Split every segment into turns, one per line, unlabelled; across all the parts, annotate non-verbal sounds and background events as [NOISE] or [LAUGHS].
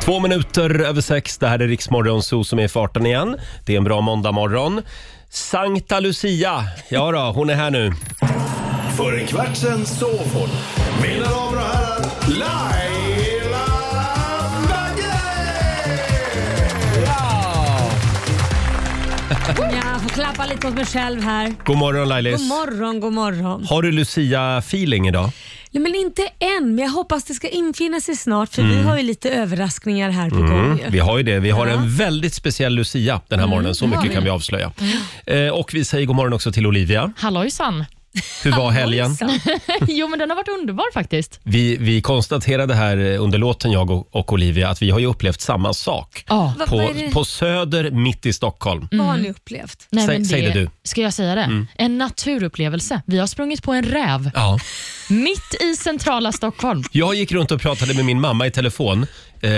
Två minuter över sex, det här är Riksmorgon Zoo som är i farten igen. Det är en bra måndagmorgon. Sankta Lucia, ja då, hon är här nu.
För en kvart sen sov hon. Mina damer och herrar, Laila Bagge!
Ja, får klappa lite åt mig själv här.
God morgon Lailis.
God morgon, god morgon.
Har du Lucia-feeling idag?
Nej, men inte än, men jag hoppas det ska infinna sig snart för vi har ju lite överraskningar här på gång.
Mm.
ju.
Vi har ju det. Vi har en väldigt speciell Lucia den
Mm,
här morgonen. Så mycket kan vi avslöja. Eh, och vi säger god morgon också till Olivia.
Hallojsan.
Hur var helgen?
Så.
[LAUGHS] Jo, men den har varit underbar faktiskt.
Vi, vi konstaterade här eh, under låten, jag och, och Olivia, att vi har ju upplevt samma sak.
Ja.
Vad- vad
På,
är det-
på Mm. Söder, mitt i Stockholm.
Vad har ni upplevt?
Nej,
Säg-
men
säg det du. Mm.
Ska jag säga det? En naturupplevelse. Vi har sprungit på en räv
Ja.
mitt i centrala Stockholm.
Jag gick runt och pratade med min mamma i telefon eh,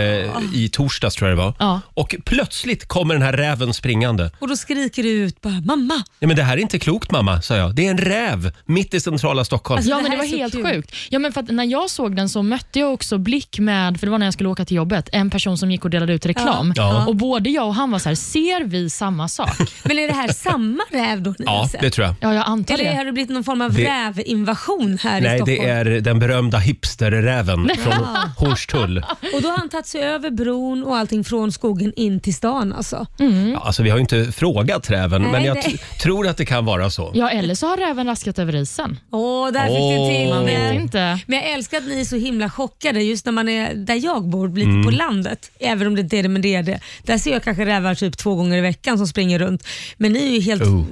i torsdags tror jag det var.
Ja.
Och plötsligt kommer den här räven springande.
Och då skriker du ut bara “mamma”.
Nej, men det här är inte klokt mamma, sa jag. Det är en räv mitt i centrala Stockholm.
Alltså,
Ja,
det
men det
här
var
är så
helt
kul.
sjukt. Ja, men för att när jag såg den så mötte jag också blick med, för det var när jag skulle åka till jobbet, en person som gick och delade ut reklam.
Ja.
Och Både jag och han var så här, ser vi samma sak?
Men är det här samma räv då ni har
ja,
sett?
det tror jag.
Ja, jag antar
Eller har
det.
det blivit någon form av
Det-
rävinvasion här i
Nej,
Stockholm?
det är den berömda hipsterräven från Hornstull.
Och då har han tagit sig över bron och allting från skogen in till stan alltså.
Ja, alltså, vi har ju inte frågat räven,
Nej,
men jag
det-
t- tror att det kan vara så.
Ja, eller så har räven raskat över isen.
Åh, där fick du till
Åh.
Man vet
det.
inte.
Men jag älskar att ni är så himla chockade just när man är där jag bor, lite på
Mm.
landet. Även om det inte är det, men det är det. Där ser jag kanske rävar typ två gånger i veckan som springer runt. Men ni är ju helt...
Oh,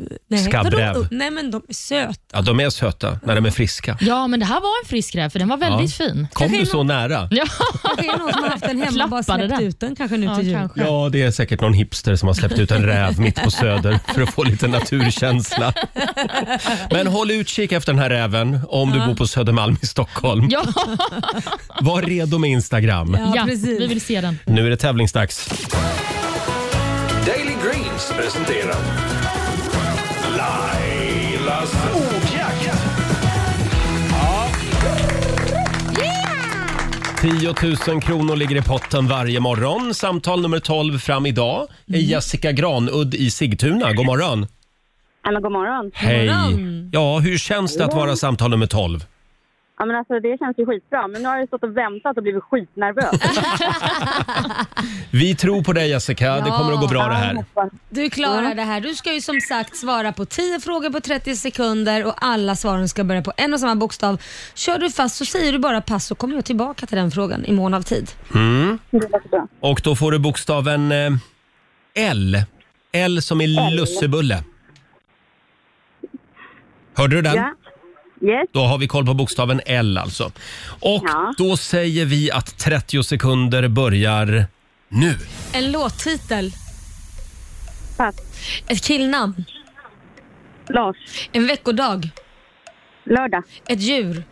skabbräv.
vadå, oh, nej men de är söta.
Ja, de är söta när de är friska.
Ja, men det här var en frisk räv, för den var väldigt fin.
Kom du så nära?
Ja.
Det är någon som har haft den hemma och bara
Klappade
släppt
den.
ut den kanske nu
Ja, [LAUGHS]
till jul.
kanske.
Ja, det är säkert någon hipster som har släppt ut en räv mitt på Söder för att få lite naturkänsla. Men håll utkik efter den här räven om du bor på Södermalm i Stockholm.
Ja,
Var redo med Instagram.
Ja,
ja
precis.
vi vill se den.
Nu är det tävlingsdags.
Daily Greens presenterar Lailas ordjakt.
10 000 kronor ligger i potten varje morgon. Samtal nummer 12 fram idag är Jessica Granudd i Sigtuna. God morgon!
Ja, men god morgon.
Hej! Ja, hur känns det att vara samtal nummer 12?
Ja, men alltså, det känns ju skitbra, men nu har jag stått och väntat och blivit skitnervös.
[LAUGHS] Vi tror på dig Jessica, det kommer att gå bra det här.
Du klarar det här. Du ska ju som sagt svara på 10 frågor på 30 sekunder och alla svaren ska börja på en och samma bokstav. Kör du fast så säger du bara pass så kommer jag tillbaka till den frågan i mån av tid.
Det låter bra.
Och då får du bokstaven eh, L. L som i lussebulle. Hörde du den?
Ja. Yes.
Då har vi koll på bokstaven L alltså. Och
Ja.
då säger vi att 30 sekunder börjar nu.
En låttitel,
Pass.
ett killnamn,
Lars.
en veckodag,
Lördag.
ett djur,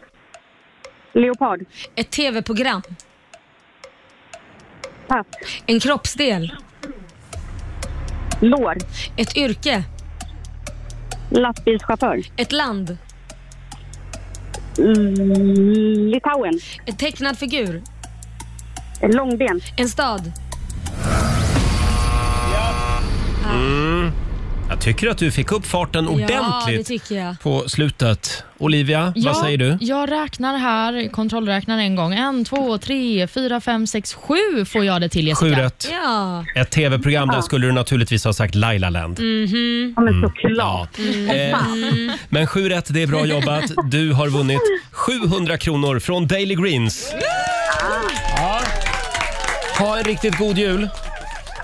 Leopard.
ett tv-program,
Pass.
en kroppsdel,
Lår.
ett yrke,
Lastbilschaufför.
ett land,
Mm, Litauen.
en tecknad figur,
Långben.
en stad.
Jag tycker att du fick upp farten
Ja, det
ordentligt
tycker jag.
på slutet. Olivia,
Ja,
vad säger du?
Jag räknar här, kontrollräknar en gång. En, två, tre, fyra, fem, sex, sju får jag det till
Sju
Jessica.
rätt.
Ja,
Ett tv-program där skulle du naturligtvis ha sagt Lailaland.
Ja, men såklart.
Mm. Ja. Eh, men sju rätt, det är bra jobbat. Du har vunnit 700 kronor från Daily
Ah.
Greens. Ja. Ha en riktigt god jul.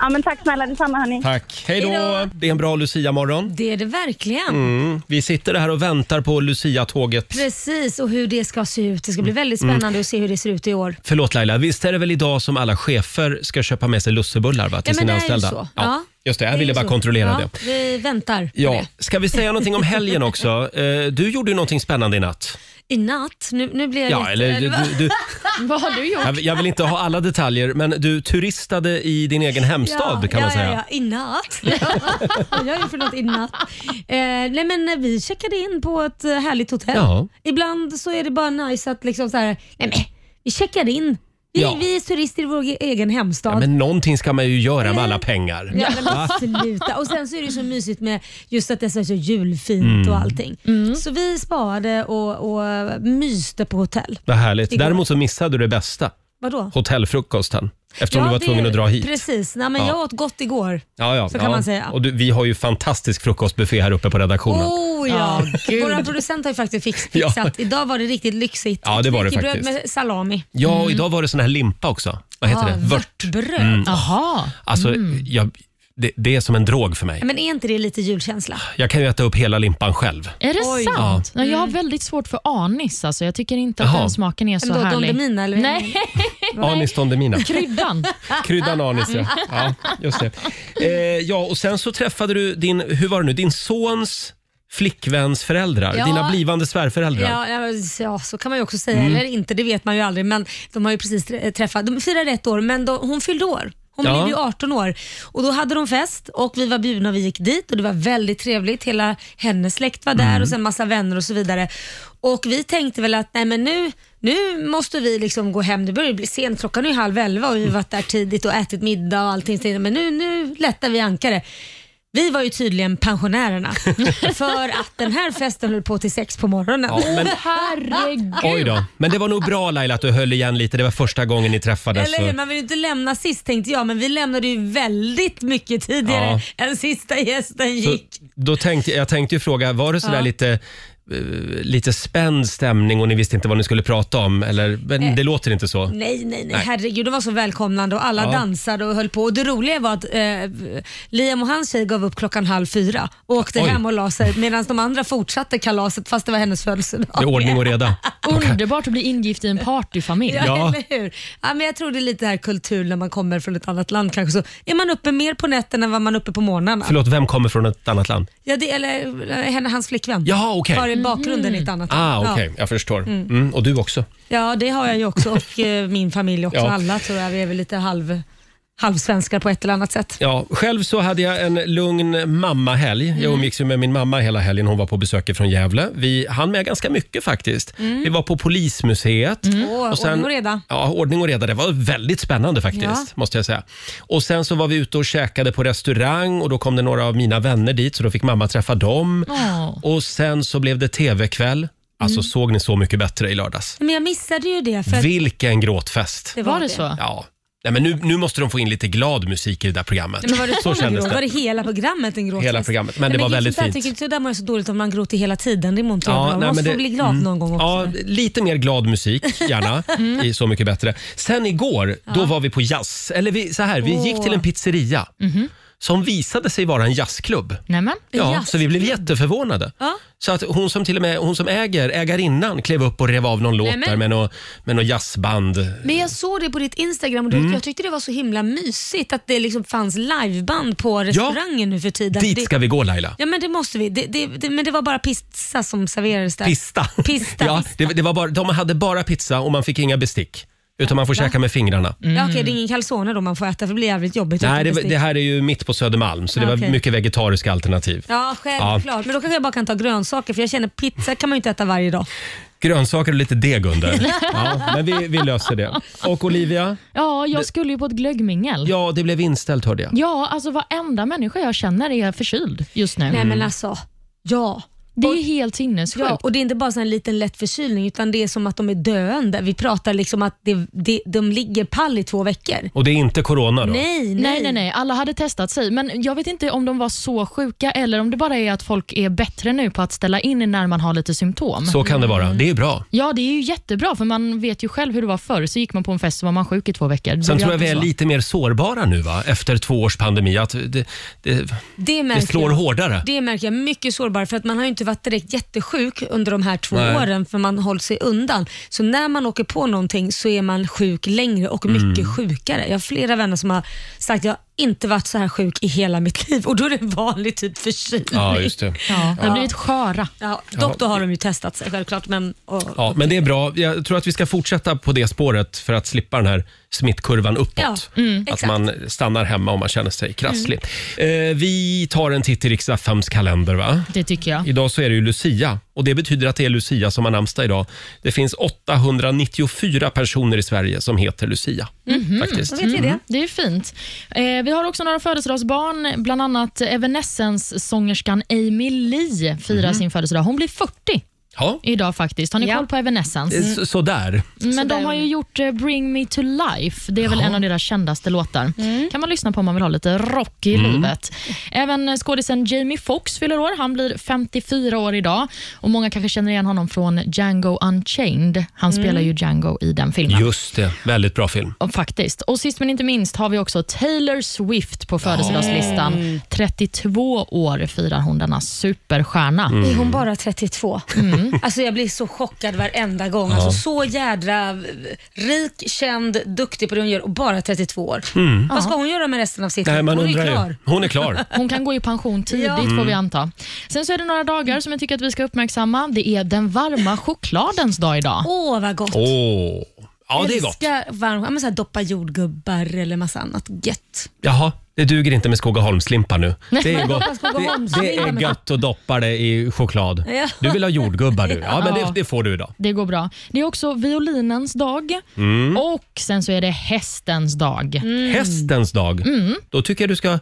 Ja, men tack snälla detsamma, hörni.
Tack. Hej då.
Hejdå.
Det är en bra Lucia-morgon.
det är det verkligen.
Vi sitter här och väntar på Lucia-tåget.
Precis, och hur det ska se ut. Det ska bli
Mm.
väldigt spännande att se hur det ser ut i år.
Förlåt Laila, visst är det väl idag som alla chefer ska köpa med sig lussebullar va, till
Ja, men
sina
det är ju
anställda?
så.
Ja,
Ja.
just det. Jag
Det är
ville
ju
bara
så.
kontrollera
ja,
det.
Vi väntar på
Ja.
det.
Ska vi säga någonting om helgen
[LAUGHS]
också? Eh, Du gjorde ju någonting spännande i natt.
I natt, nu, nu blir jag
Ja,
lite...
eller du,
va?
du, du,
Vad har du gjort?
Jag, jag vill inte ha alla detaljer, men du turistade i din egen hemstad
ja,
kan man
ja,
säga.
Ja, ja.
[LAUGHS]
i natt. Vad gör jag för något i natt? Eh, nej, men eh, vi checkade in på ett eh, härligt hotell.
Ja.
Ibland så är det bara nice att liksom så här, nej men vi checkar in. Vi,
Ja.
vi är turister i vår e-, egen hemstad.
Ja, men någonting ska man ju göra med alla pengar.
Ja, men sluta. Och sen så är det ju så mysigt med just att det är så julfint
Mm.
och allting. Så vi sparade och, och myste på hotell.
Vad härligt.
Igår.
Däremot så missade du det bästa.
Vadå?
Hotellfrukosten. Eftersom du var
det-
tvungen att dra hit.
Precis. Nej, men
Ja.
Jag åt gott igår.
Ja, ja,
Så kan
ja.
man säga.
Och du, vi har ju fantastisk frukostbuffé här uppe på redaktionen.
Oh ja!
Ja, gud.
Vår producent har ju faktiskt fix,
Ja.
fixat. Idag var det riktigt lyxigt.
Ja, det var det
Knäckebröd
faktiskt.
med salami.
Ja, och idag var det sån här limpa också. Vad heter
mm. Ja, Mm.
det? Vört. Mm.
Vörtbröd.
Aha.
Alltså, jag, det, det är som en drog för mig.
Ja, Men är inte det lite julkänsla?
Jag kan ju äta upp hela limpan själv.
Är det
Oj. Mm.
sant? Nej, jag har väldigt svårt för anis. Alltså. Jag tycker inte att
Jaha.
den smaken är så
Men då
härlig.
Dondemina eller?
Nej, [LAUGHS]
Anis Don Demina.
kryddan.
Kryddan
Ah.
anis, ja.
Mm.
ja just det. Eh, ja, och sen så träffade du din, hur var det nu, din sons flickväns föräldrar.
Ja.
Dina blivande svärföräldrar.
Ja, ja, men- ja, så kan man ju också säga.
Mm.
Eller inte, det vet man ju aldrig. Men de har ju precis trä- träffat. De firade ett år, men då, hon fyllde år. Hon
Ja.
blev ju 18 år och då hade de fest och vi var bjudna och vi gick dit och det var väldigt trevligt. Hela hennes släkt var
Mm.
där och sen massa vänner och så vidare. Och vi tänkte väl att nej men nu, nu måste vi liksom gå hem. Det börjar ju bli sent, klockan är ju halv elva och vi har varit där tidigt och ätit middag och allting. Så tänkte jag, Men nu, nu lättar vi ankare. Vi var ju
[LAUGHS]
tydligen pensionärerna för att den här festen höll på till sex på morgonen.
Ja, men, [LAUGHS]
Herregud.
oj då. Men det var nog bra Laila att du höll igen lite. Det var första gången ni träffades.
Eller hur?
så-
Man vill ju inte lämna sist tänkte jag, men vi lämnade ju väldigt mycket tidigare än sista gästen
Så,
gick.
då tänkte, jag tänkte ju fråga, var det sådär lite, eh, lite spänd stämning och ni visste inte vad ni skulle prata om? Eller, men det låter inte så.
Eh. Nej, nej, nej, herregud. De var så välkomnande och alla
Ja.
dansade och höll på. Och det roliga var att eh, Liam och hans tjej gav upp klockan halv fyra och åkte
Oj.
hem och la sig medan de andra fortsatte kalaset fast det var hennes
Det är
födelsedag.
ordning och reda.
Underbart att bli ingift i en partyfamilj.
[LAUGHS] Ja,
Ja.
eller hur? Ja, men jag tror det är lite här kultur när man kommer från ett annat land kanske. Så är man uppe mer på nätterna än vad man är uppe på morgnarna.
Förlåt, vem kommer från ett annat land?
Ja, det, eller eh, henne, hans flickvän.
Jaha, okej.
Var i bakgrunden i ett annat
Ah,
land.
okej.
Ja.
Jag förstår. Mm, och du också.
Ja, det har jag ju också och eh, min familj också.
Ja.
Alla tror jag. Vi är väl lite halv, halvsvenskar på ett eller annat sätt.
Ja, själv så hade jag en lugn mammahelg.
Mm.
Jag umgicks ju med min mamma hela helgen. Hon var på besök från Gävle. Vi hann med ganska mycket faktiskt. Vi var på Polismuseet.
Åh, Mm. ordning och reda.
Ja, ordning och reda. Det var väldigt spännande faktiskt,
Ja.
måste jag säga. Och sen så var vi ute och käkade på restaurang och då kom det några av mina vänner dit så då fick mamma träffa dem.
Åh.
Och sen så blev det tv-kväll. Alltså såg ni så mycket bättre i lördags?
Men jag missade ju det Mm. för att
Vilken gråtfest!
det var,
Var det så?
Ja. Nej, men nu, nu måste de få in lite glad musik i det där programmet.
Men var det
[LAUGHS] så
så
kändes
Var
det.
det hela programmet en gråt?
Hela programmet, men det var väldigt
Jag
fint.
tycker inte där mår jag så dåligt om man gråter hela tiden. Det mår inte jag bra. Man
nej,
måste
men
få
det-
bli glad
mm.
någon gång också.
Ja, lite mer glad musik
[LAUGHS]
gärna. i Så mycket bättre. Sen igår, då var vi på jazz. Eller vi, så här, vi gick
Åh. Mhm.
till en pizzeria som visade sig vara en jazzklubb.
Nämen.
Ja,
Jazzklubb.
så vi blev jätteförvånade.
Ja.
Så att hon som till och med hon som äger, ägarinnan, klev upp och rev av någon låt
Nämen.
där med något med nå jazzband.
Men jag såg det på ditt Instagram och du,
Mm.
jag tyckte det var så himla mysigt att det liksom fanns liveband på restaurangen nu för tiden.
Dit
det,
ska vi gå Laila.
Ja men det måste vi. Det, det, det, men det var bara pizza som serverades där.
Pista. [LAUGHS]
Pista,
ja,
pista.
det, det var bara, de hade bara pizza och man fick inga bestick. Utan man får käka med fingrarna.
Ja, okej, det är ingen calzone då man får äta för det blir jävligt jobbigt.
Mm. Nej,
utan
det,
bestick.
det här är ju mitt på Södermalm så det
Ja,
var
Typ okej.
mycket vegetariska alternativ.
Ja, självklart. Men då kanske jag bara kan ta grönsaker för jag känner pizza kan man ju inte äta varje
Mm.
dag.
Grönsaker och lite deg under. ja, men vi, vi löser det. Och Olivia?
Ja, jag skulle ju på ett glöggmingel. Ja.
Ja, det blev inställt hörde jag.
alltså varenda människa jag känner är förkyld just nu.
Nej men alltså, ja.
Det är helt sinnessjukt.
Ja, och det är inte bara så här en liten lätt förkylning utan det är som att de är döende. Vi pratar liksom att det, det, de ligger pall i två veckor.
Och det är inte corona då?
Nej, nej.
Nej, nej, nej. Alla hade testat sig, men jag vet inte om de var så sjuka eller om det bara är att folk är bättre nu på att ställa in när man har lite symptom.
Så kan det vara. Det är bra.
Ja, det är ju jättebra, för man vet ju själv hur det var förr. Så gick man på en fest så var man sjuk i två veckor. Det
Sen
blir
tror jag vi
alltid
är
så.
lite mer sårbara nu va? efter två års pandemi. Att det, det,
Det, märker
det slår
jag.
hårdare.
Det märker jag, mycket sårbar för att man har ju inte varit direkt jättesjuk under de här två
Nej.
åren för man har hållit sig undan. Så när man åker på någonting så är man sjuk längre och mycket
Mm.
sjukare. Jag har flera vänner som har sagt jag har inte varit så här sjuk i hela mitt liv och då är det en vanlig typ förkylning.
Ja, just det.
Ja, de har blivit sköra.
Ja, dock då har de ju testat sig självklart men och,
Ja, men det är bra. Jag tror att vi ska fortsätta på det spåret för att slippa den här smittkurvan uppåt.
Ja, mm,
att
exakt. Mm.
man stannar hemma om man känner sig krasslig. Eh, vi tar en titt i riks FMs kalender. Va?
Det tycker jag.
Idag så är det ju Lucia Och det betyder att det är Lucia som har namnsdag idag. Det finns 894 personer i Sverige som heter Lucia. Faktiskt.
Då Mhm, vet vi det.
Det är fint. Eh, vi har också några födelsedagsbarn, bland annat Evanescence-sångerskan Amy Lee firar sin födelsedag. Hon blir 40
Mhm. Ja,
idag faktiskt. Har ni
Ja.
koll på Evanescence?
s- sådär.
Men
Sådär
de har ju gjort eh, Bring Me To Life. Det är väl en av deras kändaste låtar. kan man lyssna på om man vill ha lite rock i livet. Även eh, skådisen Jamie Foxx fyller år. Han blir 54 år idag. Och Många kanske känner igen honom från Django Unchained. Han spelar ju Django i den filmen.
Just det, väldigt bra film.
Ja, Faktiskt. Och sist men inte minst har vi också Taylor Swift på födelsedagslistan. 32 år firar hon denna superstjärna.
Är
Mm.
hon bara 32?
Mm.
Alltså jag blir så chockad varenda gång. Alltså så jädra eh, rik, känd, duktig på det hon gör och bara 32 år. Vad ska hon göra med resten av sitt
Mm. Nej,
liv?
man
Hon är ju
undrar
klar.
ju. Hon är
[LAUGHS]
klar.
Hon kan gå i pension tidigt får
Mm.
vi anta. Sen så är det några dagar som jag tycker att vi ska uppmärksamma. Det är den varma chokladens dag idag.
Åh vad gott.
Åh, ja det är gott.
Älskar varm, ja, men så här, doppa jordgubbar eller massa annat gött.
Jaha, det duger inte med Skogaholmslimpa nu. Det är gott. Det,
Skogaholmslimpa
det är
med-
gött att doppa det i choklad.
Ja.
Du vill ha jordgubbar du. Ja, men det,
[LAUGHS] Ja.
det får du idag.
Det går bra. Det är också violinens dag
Mm.
och sen så är det hästens dag.
Mm.
Hästens dag.
Mm.
Då tycker jag du ska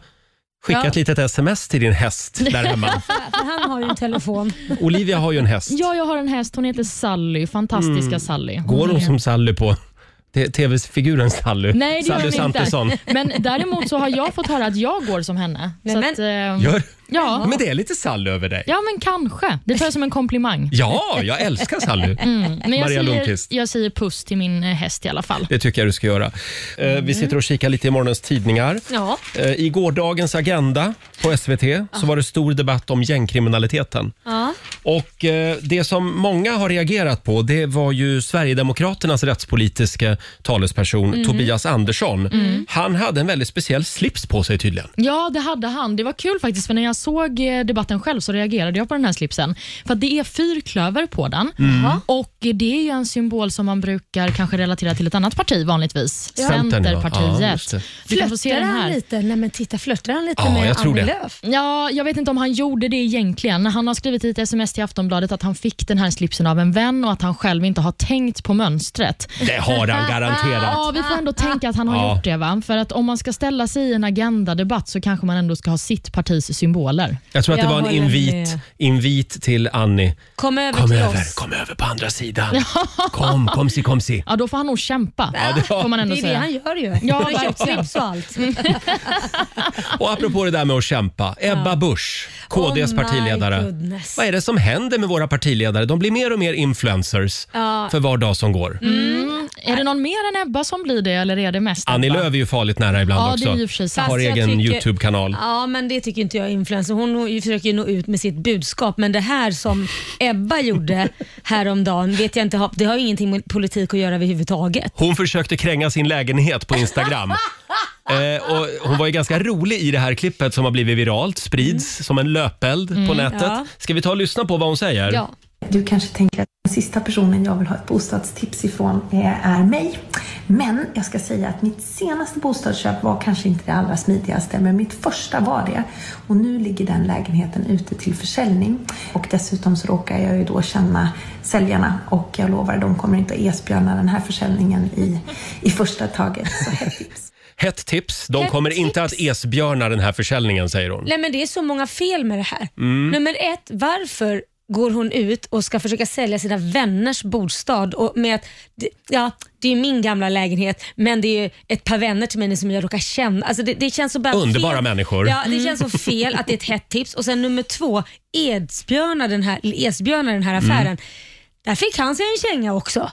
skicka
Ja.
ett litet sms till din häst där
[LAUGHS]
hemma.
Han har ju en telefon.
Olivia har ju en häst.
Ja, jag har en häst. Hon heter Sally. Fantastiska Sally.
Mm. Går hon som Sally på t- tv-figuren Sally?
Nej, det gör
Sally
hon
Santesson.
inte. Men däremot så har jag fått höra att jag går som henne.
Nej,
så
men-
att, eh,
Gör?
ja.
Men det är lite Sally över dig.
ja, men kanske. Det tar jag som en komplimang.
Ja, jag älskar Sally.
Men jag,
Maria
säger,
Lundqvist.
jag säger puss till min eh, häst i alla fall.
Det tycker jag du ska göra. Eh,
Mm.
Vi sitter och kikar lite i morgonens tidningar.
Ja.
Eh, I gårdagens Agenda på SVT så var det stor debatt om gängkriminaliteten.
Ja.
Och eh, Det som många har reagerat på det var ju Sverigedemokraternas rättspolitiska talesperson
Mhm.
Tobias Andersson.
Mm.
Han hade en väldigt speciell slips på sig tydligen.
Ja, det hade han. Det var kul faktiskt, för när jag såg eh, debatten själv så reagerade jag på den här slipsen. För att det är fyrklöver på den
Mm.
och det är ju en symbol som man brukar kanske relatera till ett annat parti vanligtvis.
Centern, va? Ja, just
Centerpartiet.
det.
du kan få se
Flörtar
den
han
här.
lite? Nej men titta, flörtar han lite
Ja,
med
jag tror
Annie
det.
Lööf?
Ja, jag vet inte om han gjorde det egentligen. Han har skrivit i ett sms till Aftonbladet att han fick den här slipsen av en vän och att han själv inte har tänkt på mönstret.
Det har han garanterat.
Ja, vi får ändå tänka att han har
Ja.
gjort det. Va? För att om man ska ställa sig i en agendadebatt så kanske man ändå ska ha sitt partis symboler.
Jag tror att det
Jag
var en
håller
invit,
med.
invit till Annie.
Kom över
Kom
till
över,
oss.
kom över på andra
[LAUGHS]
sidan. Kom, kom si, kom si.
Ja, då får han nog kämpa.
Ja, det var-
Får man
Det
ändå
är det
säga.
han gör ju. [LAUGHS]
Ja,
Han har köpt
verkligen.
slips och allt.
Och apropå det där med att kämpa, Ebba Busch, KDs
Oh my
partiledare.
goodness.
Vad är det som händer med våra partiledare? De blir mer och mer influencers
Ja. Mm.
för var dag som går.
Mm. Är det någon mer än Ebba som blir det eller är det mest
Annie
Ebba?
Lööf är ju farligt nära ibland
Ja, det är
också.
ju i och för sig sant.
Har
Fast jag
egen
tycker-
Youtube-kanal.
Ja, men det tycker inte jag är influencer. Hon hon försöker ju nå ut med sitt budskap, men det här som Ebba gjorde häromdagen, vet jag inte, har- det har ju ingenting med politik att göra överhuvudtaget.
Hon försökte kränga sin lägenhet på
[LAUGHS]
Instagram. Eh, och hon var ju ganska rolig i det här klippet som har blivit viralt, sprids som en löpeld på nätet.
Mm. ja.
Ska vi ta och lyssna på vad hon säger?
Ja.
Du kanske tänker att den sista personen jag vill ha ett bostadstips ifrån är, är mig. Men jag ska säga att mitt senaste bostadsköp var kanske inte det allra smidigaste, men mitt första var det. Och nu ligger den lägenheten ute till försäljning. Och dessutom så råkar jag ju då känna säljarna och jag lovar, de kommer inte att esbjörna den här försäljningen i, i första taget. Så hett tips!
Hett tips. De
Hett
kommer inte att
tips.
esbjörna den här försäljningen, säger hon.
Nej, men det är så många fel med det här.
Mm.
Nummer ett, varför går hon ut och ska försöka sälja sina vänners bostad och med att det- ja, det är min gamla lägenhet men det är ju ett par vänner till mig som jag råkar känna. Alltså det, det känns så bara
Underbara
fel.
människor. Mm.
Ja, det känns så fel att det är ett hett tips. Och sen nummer två, Edsbjörna den här, Esbjörna den här affären. Där fick han sig en känga också.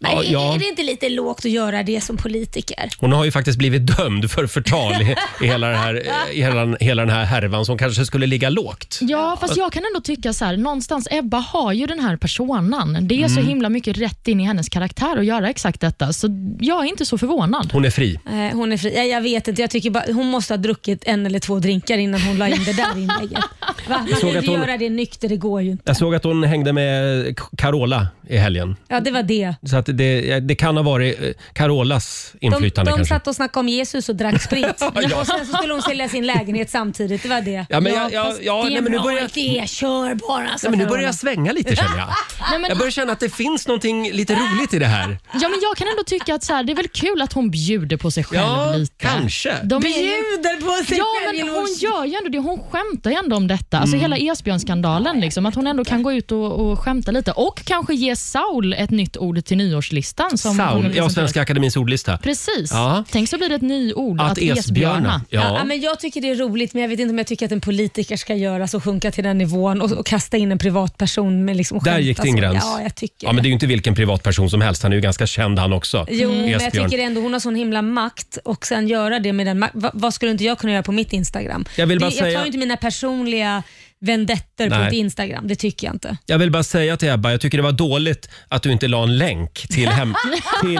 Men
Mm. Ja,
är-
ja.
Är det inte lite lågt att göra det som politiker?
Hon har ju faktiskt blivit dömd för förtal i, i, hela, det här, i hela, hela den här härvan som kanske skulle ligga lågt.
Ja, fast jag kan ändå tycka så här, någonstans, Ebba har ju den här personan. Det är
Mm.
så himla mycket rätt in i hennes karaktär att göra exakt detta, så jag är inte så förvånad.
Hon är fri.
Eh, Hon är fri. Ja, jag vet inte. Jag tycker bara, hon måste ha druckit en eller två drinkar innan hon la in det där
[LAUGHS]
inlägget. Va? Man
såg
kan ju
att
inte
hon-
göra det nykter, det går ju inte.
Jag såg att hon hängde med Carola i helgen.
Ja, det var det. det.
Så att det, det kan ha varit eh, Carolas
De,
inflytande
de
kanske.
satt och snackade om Jesus och
[LAUGHS]
drack sprit. Och sen så skulle hon sälja sin lägenhet samtidigt. Det var det.
Ja, men jag, jag,
fast
ja,
det är
nej, men nu
bra
börjar,
Det kör bara. sa
nej, men nu
Carola.
börjar jag svänga
[LAUGHS]
lite känner jag.
Nej, men,
Jag börjar känna att det finns någonting lite roligt i det här.
ja, men jag kan ändå tycka att så här, det är väl kul att hon bjuder på sig själv
Ja,
lite.
kanske.
De är ju,
Bjuder på sig
ja,
Typ själv
men
genom
hon
att-
gör ju ändå det. Hon skämtar ju ändå om detta. Alltså hela Esbjörnsskandalen, liksom, att hon ändå kan gå ut och, och skämta lite och kanske ge Saul ett nytt ord till nyårslistan. Som hon
Saul,
liksom
presenterar.
ja, Svenska Akademins ordlista.
Precis.
Ja.
Tänk så blir det ett nyord.
Att esbjörna.
Ja.
Ja.
men jag tycker det är roligt, men jag vet inte om jag tycker att en politiker ska göra så, sjunka till den nivån och, och kasta in en privatperson med liksom
Där
skämt,
gick din
alltså.
gräns.
Ja, jag tycker
Ja, men det är ju inte vilken privatperson som helst. Han är ju ganska känd han också.
Jo, men jag
Esbjörn.
tycker ändå hon har sån himla makt och sen göra det med den mak- Va, Vad skulle inte jag kunna göra på mitt Instagram?
Jag vill bara
det, jag
säga-
tar ju inte mina personliga vendettor på
Nej.
ett Instagram, det tycker jag inte.
Jag vill bara säga till Ebba, jag tycker det var dåligt att du inte la en länk till,
[LAUGHS]
hem, till,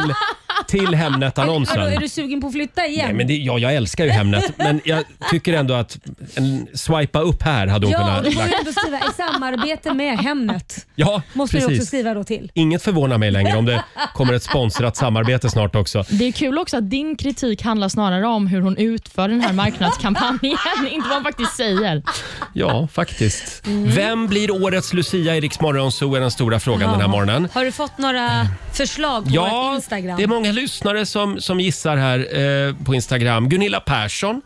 till
Vadå, är
Hemnet-annonsen.
du sugen på att flytta igen?
Nej, men det, ja, jag älskar ju Hemnet, men jag tycker ändå att en swipa upp här hade hon
ja,
kunnat
då får
lagt.
du ändå skriva i samarbete med Hemnet.
Ja,
Måste du också
precis.
skriva då till.
Inget förvånar mig längre om det kommer ett sponsrat samarbete snart också.
Det är kul också att din kritik handlar snarare om hur hon utför den här marknadskampanjen, [LAUGHS] inte vad hon faktiskt säger.
Ja, faktiskt.
Mm.
Vem blir årets Lucia i Rix Morgon Zoo är den stora frågan den här morgonen. Mm.
Har du fått några förslag på vårt
Ja,
Instagram?
det är många lyssnare som, som gissar här eh, på Instagram. Gunilla Persson,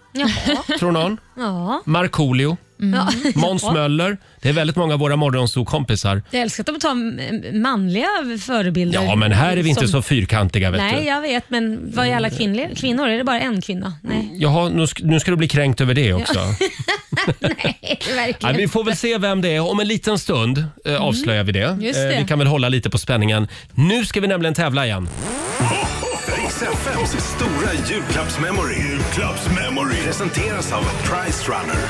tror någon.
ja.
Markoolio,
Ja. [LAUGHS]
Måns
Ja.
Möller. Det är väldigt många av våra morgonsokompisar.
Jag älskar att de tar mm, manliga förebilder.
Ja, men här är vi inte så
Som-
fyrkantiga. Vet
Nej,
du.
jag vet, men vad är alla kvinnliga, kvinnor? Är det bara en kvinna? Nej, [LAUGHS]
Jaha, nu ska, nu ska du bli kränkt över det också. Ja,
verkligen.
vi får väl se vem det är. Om en liten stund eh, avslöjar vi det.
Mm. Just det.
Eh, vi kan väl hålla lite på spänningen. Nu ska vi nämligen tävla igen.
Riks FMs stora julklappsmemory. Julklappsmemory. Presenteras av Price Runner.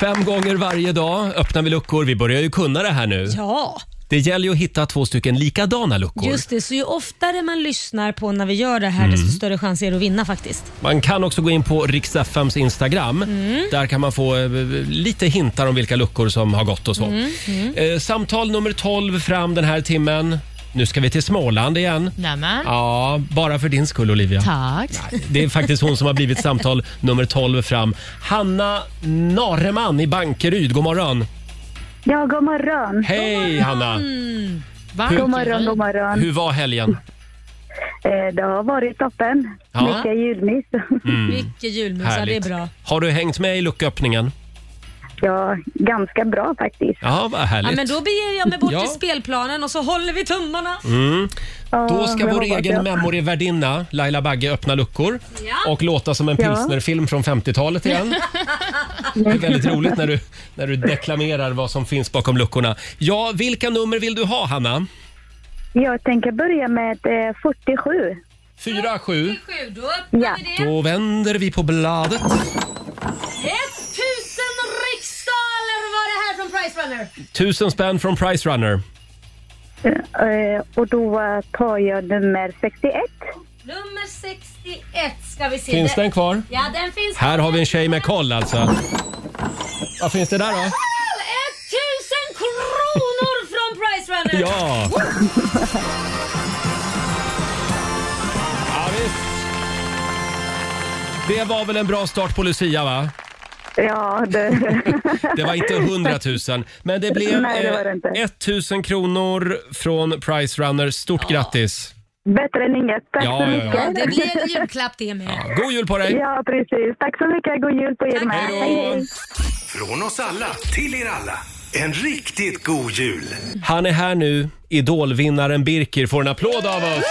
Fem gånger varje dag öppnar vi luckor. Vi börjar ju kunna det här nu.
Ja,
Det gäller ju att hitta två stycken likadana luckor.
just det. Så ju oftare man lyssnar på när vi gör det här, desto större chans är det att vinna faktiskt.
Man kan också gå in på Riks-FMs Instagram.
Mm.
Där kan man få eh, lite hintar om vilka luckor som har gått och så.
Mm,
Eh, samtal nummer 12 fram den här timmen. Nu ska vi till Småland igen.
Nämen.
Ja, bara för din skull Olivia.
Tack.
Det är faktiskt hon som har blivit samtal nummer 12 fram. Hanna Nareman i Bankeryd, god morgon.
Ja, god morgon.
Hej Hanna!
Varmt
God morgon, god morgon.
Hur var helgen?
Eh, Det har varit toppen.
Ja. Mm.
Mycket julmys.
Vilken julmus, ja, det är bra.
Har du hängt med i lucköppningen?
[LAUGHS] Ja, ganska bra faktiskt.
Ja, vad härligt.
Ja, men då beger jag mig bort
Ja.
till spelplanen och så håller vi tummarna.
Ja,
Då ska
jag
vår
hoppas
egen
jag.
memoryvärdinna Laila Bagge öppna luckor
Ja.
och låta som en
Ja.
pilsnerfilm från 50-talet igen. Det är väldigt roligt när du, när du deklamerar vad som finns bakom luckorna. Ja, vilka nummer vill du ha, Hanna?
Jag tänker börja med eh, 47.
4, 7.
Sju, då öppnar
Ja.
vi det.
Då vänder vi på bladet.
Ett tusen riksdaler var det här från Price Runner.
Tusen spänn från Price Runner.
Eh, Och då eh, tar jag nummer 61.
Nummer 61 ska vi se.
Finns den kvar?
Ja, den finns.
Här har vi en tjej med koll alltså. Vad finns det där då?
Ett tusen kronor från Price Runner.
Ja! ja visst. Det var väl en bra start på Lucia va?
Ja, det...
[LAUGHS] Det var inte 100 000 men det blev
Nej, det var det inte.
eh, 1000 kronor från Price Runner. Stort grattis!
Bättre än inget. Tack
Ja,
så
ja, ja.
mycket.
Ja, det blir en [LAUGHS] julklapp det med.
God jul på dig!
Ja, precis. Tack så mycket. God jul på er med.
Hej då.
Från oss alla till er alla. En riktigt god jul.
Han är här nu. Idolvinnaren Birkir får en applåd av oss.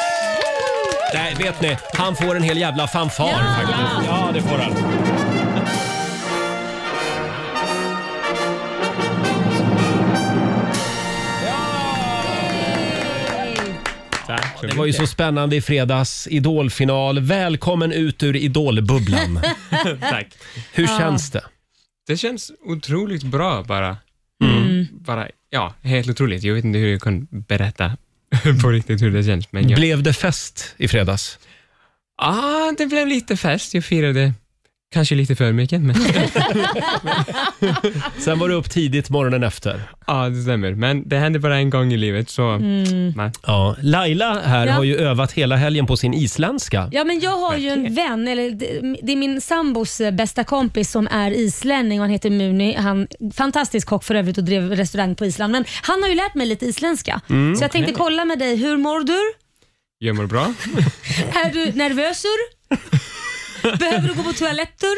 Nej, vet ni? Han får en hel jävla fanfar faktiskt. Ja, det får han. Ja, Det var ju så spännande i fredags. Idolfinal. Välkommen ut ur [LAUGHS] idolbubblan.
Tack.
Hur känns det?
Det känns otroligt bra bara. Bara, ja, helt otroligt. Jag vet inte hur jag kan berätta [LAUGHS] på riktigt hur det känns, men jag...
Blev det fest i fredags?
ah, det blev lite fest. Jag firade Kanske lite för mycket, men
Sen var du upp tidigt morgonen efter.
ja, det stämmer. Men det händer bara en gång i livet, så nej.
Ja. Laila här
Ja.
har ju övat hela helgen på sin isländska.
Ja, men jag har ju en vän, eller det- det är min sambos eh, bästa kompis som är islänning och han heter Muni. Han fantastisk kock för övrigt och drev restaurang på Island. Men han har ju lärt mig lite isländska. så jag tänkte kolla med dig, hur mår du?
Jag mår bra.
Är du nervösur? Behöver du gå på toaletter?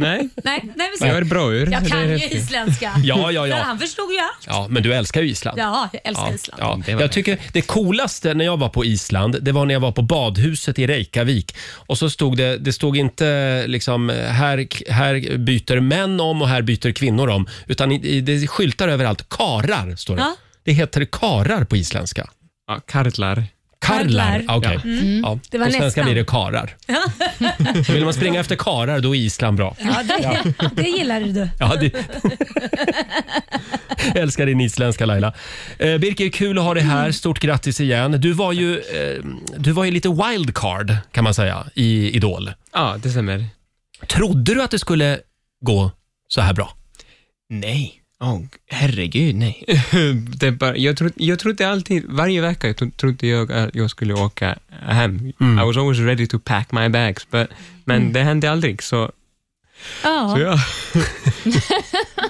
nej,
Nej, nej vi
jag är
ser.
bra ur.
Jag
så det är
kan ju
häftigt.
isländska.
Ja, ja, ja.
Han förstod ju allt.
Ja, men du älskar ju Island.
Ja, jag älskar Island.
Ja.
Mm, Det var
Jag
det.
tycker det coolaste när jag var på Island, det var när jag var på badhuset i Reykjavik. Och så stod det, det stod inte liksom här, här byter män om och här byter kvinnor om. Utan i- i- det skyltar överallt. Karar står det.
Ja.
Det heter karar på isländska.
Ja, kartlar.
Karlar.
Karlar. Mm.
Ja, Okej. Ja.
Det var
på svenska
nästan.
blir det karar. [LAUGHS] Vill man springa efter karar då är Island bra.
Ja, det, det gillar du.
Ja, det... Jag älskar din isländska Laila. Eh, Birger, kul att ha dig här. Stort grattis igen. Du var ju, eh, du var ju lite wildcard kan man säga i Idol.
Ja, det stämmer.
Trodde du att det skulle gå så här bra?
Nej. Åh, herregud, nej. [LAUGHS] det är bara, jag, trodde, jag trodde alltid, varje vecka jag tro- trodde jag att jag skulle åka hem. I was always ready to pack my bags, but, men det hände aldrig. Så,
Ja.
så jag,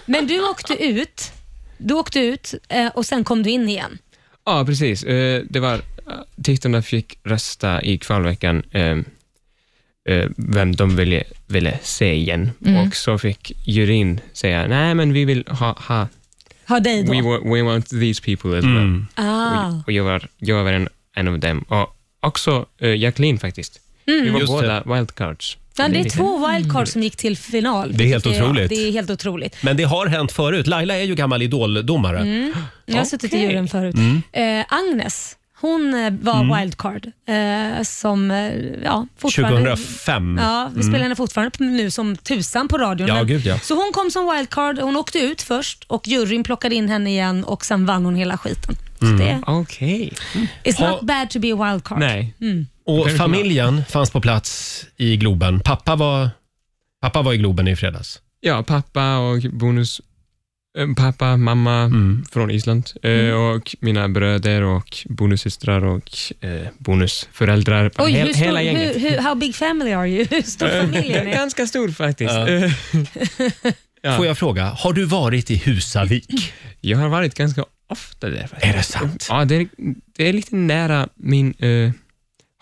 Men du åkte ut. Du åkte ut eh, och sen kom du in igen.
ja, precis. Eh, Det var, tittarna fick rösta i kvalveckan eh, eh, vem de ville, ville se igen. Och så fick juryn säga, nej men vi vill ha, ha
Ha dig då.
we, wa- we want these people as well.
ah.
Och, och jag var, jag var en, en av dem. Och också uh, Jacqueline faktiskt. Vi var
Just
båda wildcards.
Mm. Ja, det är
lite-
två wildcards som gick till final.
Det är helt
vilket
otroligt.
Det är helt otroligt.
Men det har hänt förut. Laila är ju gammal idoldomare.
Jag har suttit i juryn förut.
Mm.
Eh, Agnes, hon eh, var wildcard eh, som eh, ja, fortfarande...
2005.
Ja, vi spelar henne fortfarande nu som tusan på radion.
Mm. Ja,
Men-
gud, ja.
Så hon kom som wildcard, hon åkte ut först och juryn plockade in henne igen och sen vann hon hela skiten. Så det,
Okej.
it's
Mm. Ha-
not bad to be a wildcard.
Nej.
Och familjen fanns på plats i Globen. Pappa var, pappa var i Globen i fredags.
Ja, pappa och bonus... eh, Pappa, mamma
Mm.
från Island eh,
Mm.
och mina bröder och bonussystrar och eh, bonusföräldrar.
Oj,
He-
hur stor,
hela gänget.
hur, hur, how big family are you? [LAUGHS] Hur stor
[LAUGHS]
familj är
G-
ni?
[LAUGHS] Ganska stor faktiskt.
Ja.
Eh, [LAUGHS] Ja.
Får jag fråga, har du varit i Husavik?
Jag har varit ganska ofta där faktiskt.
är det sant?
Ja, det är, det är lite nära min eh,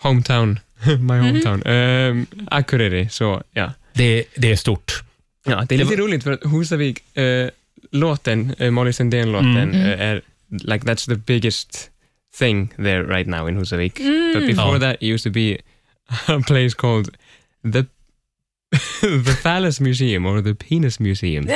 hometown. [LAUGHS] My hometown. Mm. Akureyri, så ja.
Det, det är stort.
ja det är lite roligt för att Husavik, eh, låten, eh, Molly Sandén-låten, eh, är like that's the biggest thing there right now in Husavik. But before
Ja.
that it used to be a place called the [LAUGHS] the Phallus Museum or the Penis Museum.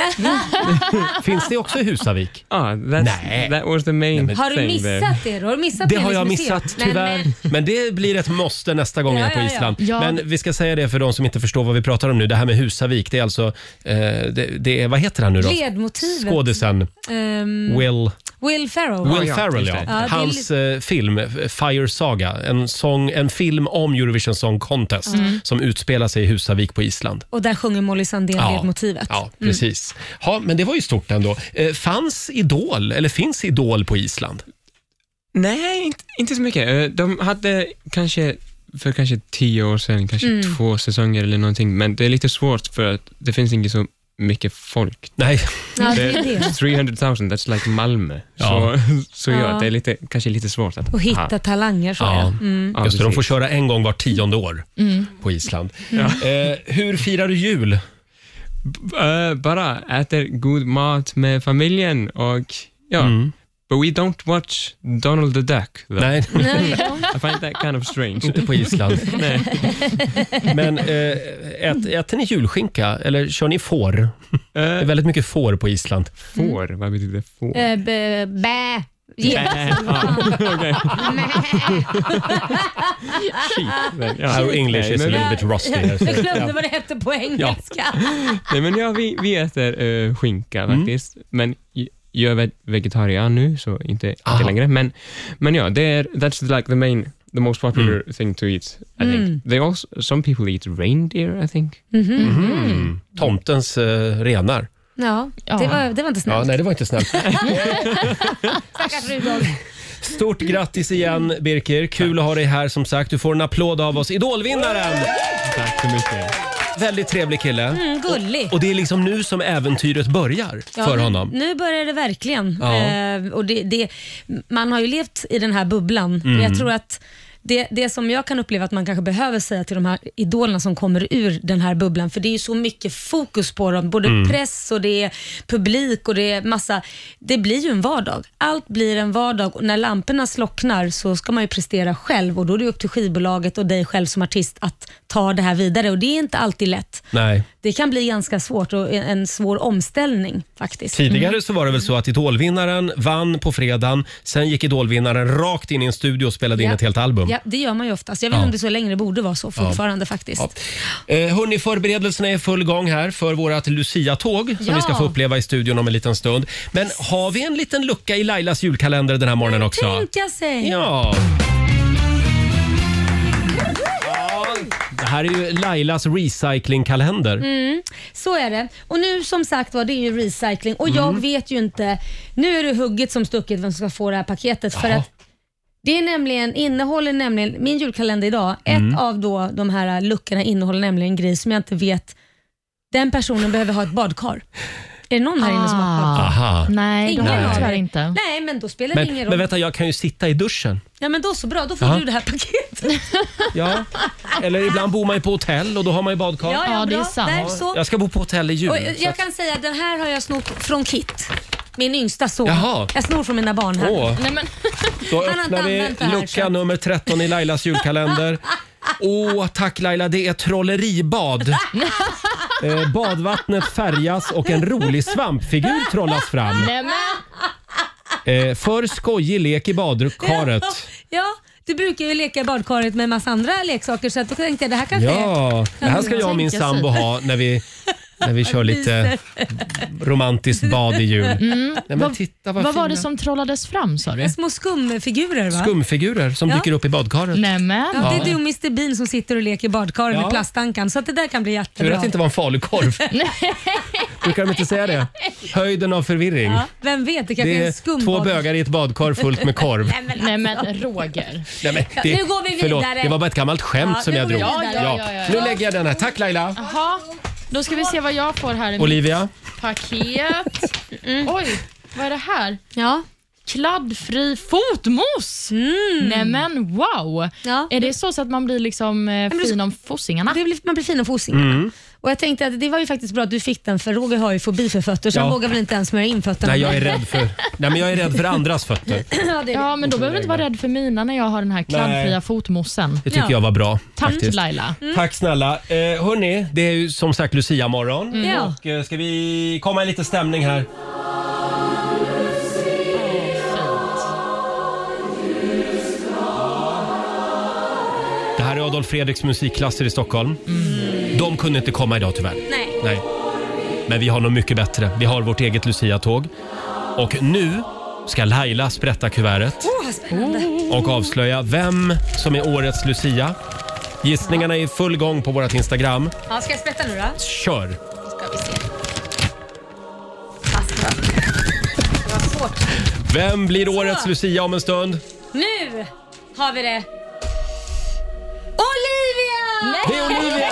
Finns det också i Husavik?
Ah, that's,
Nej.
That was the main
men-
Har du
thing there.
missat det? då? Har du missat
eh. Det har jag
penismuseet?
missat
Nej,
tyvärr.
men- eh,
Men det blir ett måste nästa gång jag är
Ja,
på
ja, ja.
Island.
Ja.
Men vi ska säga det för de som inte förstår vad vi pratar om nu. Det här med Husavik, det är alltså, eh, det, det är, vad heter han nu då?
Ledmotivet.
Skådisen
Ehm,
Will,
Will Ferrell.
Will
ja,
Ferrell.
just
Ja.
det.
Ja, det är
Hans eh, film F- Fire Saga, en, sång, en film om Eurovision Song Contest
Mm.
som utspelar sig i Husavik på Island.
Och där sjunger Molly Sandén ledmotivet.
ja precis. Ja, men det var ju stort ändå. Eh, fanns Idol, eller finns Idol på Island?
Nej, inte, inte så mycket. Eh, De hade kanske för kanske tio år sedan, kanske
Mm.
två säsonger eller någonting, men det är lite svårt för att det finns inte så mycket folk.
Nej,
Ja, det är det.
300 000, that's like Malmö.
Ja.
Så, så ja,
Ja.
det är lite, kanske lite svårt att...
Och hitta
Ja,
talanger Mm. så
Ja.
ja.
ja,
Just det, de får
precis.
köra en gång var tionde år
Mm,
på Island. Eh, hur firar du jul?
Eh, bara äter god mat med familjen och ja. But we don't watch Donald the Duck. Though.
Mm. Nej, [LAUGHS]
I find that kind of strange.
inte på Island. [LAUGHS] Men eh, ät, äter ni julskinka eller kör ni får? Det är
Eh,
väldigt mycket får på Island.
får, vad betyder får? Eh,
Eh, b- Bä. Yeah. [LAUGHS]
Ja,
Our English
nej,
is a
men-
little bit rusty. Here,
Jag
so.
glömde vad det hette på engelska.
Nej, men ja, vi, vi äter eh, skinka
Mm.
faktiskt. Men j- jag är ve- vegetarian nu, så inte,
Aha.
inte längre. Men, men ja, det är, that's like the main the most popular
Mm.
thing to eat. I think
Mm.
they also some people eat reindeer. I think.
Mm.
Mm.
Tomtens eh, renar.
Ja,
Ja.
Det, var, det var inte
Ja,
snällt.
nej, det var inte snällt.
Stackars Rudolf.
Stort grattis igen, Birker. Kul att ha dig här. som sagt. Du får en applåd av oss. Idolvinnaren!
Tack så mycket.
Väldigt trevlig kille.
Mm, gullig.
Och det är liksom nu som äventyret börjar
Ja,
för
nu-
honom.
Nu börjar det verkligen.
Ja.
Eh, och det, det, man har ju levt i den här bubblan. Jag
Mm.
tror att det, det som jag kan uppleva att man kanske behöver säga till de här idolerna som kommer ur den här bubblan, för det är ju så mycket fokus på dem. Både
Mm.
press och det är publik och det är massa. Det blir ju en vardag. Allt blir en vardag och när lamporna slocknar så ska man ju prestera själv och då är det upp till skivbolaget och dig själv som artist att ta det här vidare och det är inte alltid lätt.
Nej.
Det kan bli ganska svårt och en- en svår omställning faktiskt.
Tidigare så var det väl så att Idolvinnaren vann på fredagen. Sen gick Idolvinnaren rakt in i en studio och spelade in
Ja.
ett helt album.
Ja, det gör man ju oftast. Jag vet inte om det är så länge, det borde vara så fortfarande faktiskt.
Ja. Eh, hörni, förberedelserna är i full gång här för vårt Lucia-tåg som
Ja.
vi ska få uppleva i studion om en liten stund. Men har vi en liten lucka i Lailas julkalender den här morgonen också?
Tänka sig!
Ja. Det här är ju Lailas recyclingkalender.
Mm. Så är det. Och nu som sagt var, det är ju recycling och
Mm.
jag vet ju inte. Nu är det hugget som stucket vem som ska få det här paketet för
Jaha.
att det är nämligen, innehåller nämligen, min julkalender idag,
Mm.
ett av då de här luckorna innehåller nämligen en grej som jag inte vet, den personen behöver ha ett badkar. Är det någon här inne som har ett badkar?
Aha.
Ah. Nej, det
Ingen
har jag
aning.
tyvärr inte.
Nej, men då spelar det
Men,
ingen roll.
men vänta, jag kan ju sitta i duschen.
Ja, men då så bra, då får
Ja.
du det här paketet.
Ja. Eller ibland bor man ju på hotell och då har man ju badkar.
Ja, ja,
Ja, det
bra.
är sant.
Där, så.
Jag ska bo på hotell i jul.
Och
Mm, så
jag
att-
kan säga att den här har jag snott från Kit, min yngsta son.
Jaha.
Jag snor från mina barn här.
Åh,
Nej, men,
då
Han har
öppnar
inte
vi
använt det här,
lucka
så.
nummer 13 i Lailas julkalender. Åh, tack Laila, det är
[LAUGHS]
trolleribad. Eh, badvattnet färgas och en rolig svampfigur trollas fram.
nej, men.
Eh, för skojig lek i badkaret.
Ja, du brukar ju leka i badkaret med en massa andra leksaker så att då tänkte jag det här kanske är...
Ja, det här ska jag och min sambo ha när vi, när vi kör lite romantiskt bad i jul.
Mm.
Nej, men titta vad,
Vad var
fina
det som trollades fram sa du?
Små skumfigurer va?
skumfigurer som
Ja.
dyker upp i badkaret.
Nej, men.
Ja, det är du och Mr Bean som sitter och leker i badkaret
Ja.
med plastankan så att det där kan bli
Tur
jättebra.
att det inte var en
[LAUGHS]
falukorv. Brukar de inte säga det? Höjden av förvirring.
ja, vem vet, det kanske
Det
är en
är två
skumbad.
bögar i ett badkar fullt med korv.
Nej, men,
Nej men Roger.
Nej, men det,
nu går vi vidare.
Förlåt, det var bara ett gammalt skämt
Ja,
som
nu
jag
går
drog.
vi
vidare. Ja, ja, ja,
Nu
ja.
lägger jag den här. Tack Laila.
Jaha, då ska vi se vad jag får här i mitt
Olivia.
paket. Mm. Oj, vad är det här?
ja.
Kladdfri fotmos! Mm. Nej men wow!
Ja.
Är det så, så att man blir liksom eh,
det-
fin om fossingarna?
Det blir, man blir fin om fosingarna.
Mm.
Och jag tänkte att det var ju faktiskt bra att du fick den för Roger har ju fobi för fötter så
Ja.
han vågar väl inte ens smörja in fötterna.
Nej, jag är rädd för, nej, men jag är rädd för andras fötter.
[LAUGHS] ja, det är det.
Ja, men då behöver du inte vara rädd för mina när jag har den här kladdfria
Nej.
fotmossen.
Det tycker
Ja.
jag var bra.
Tack
faktiskt.
Laila.
Mm.
Tack snälla. Eh, hörni, det är ju som sagt Lucia-morgon.
Ja.
Och, eh, ska vi komma i lite stämning här? Det här är Adolf Fredriks musikklasser i Stockholm. De kunde inte komma idag tyvärr.
Nej.
Nej. Men vi har något mycket bättre. Vi har vårt eget Lucia-tåg. Och nu ska Laila sprätta kuvertet
Åh, vad spännande.
och avslöja vem som är årets Lucia. Gissningarna är i full gång på vårt Instagram.
Ja, ska jag sprätta nu då?
Kör!
ska vi se. Fast, va? Det var svårt.
Vem blir årets Lucia om en stund?
Nu har vi det. Olivia!
Det är Olivia!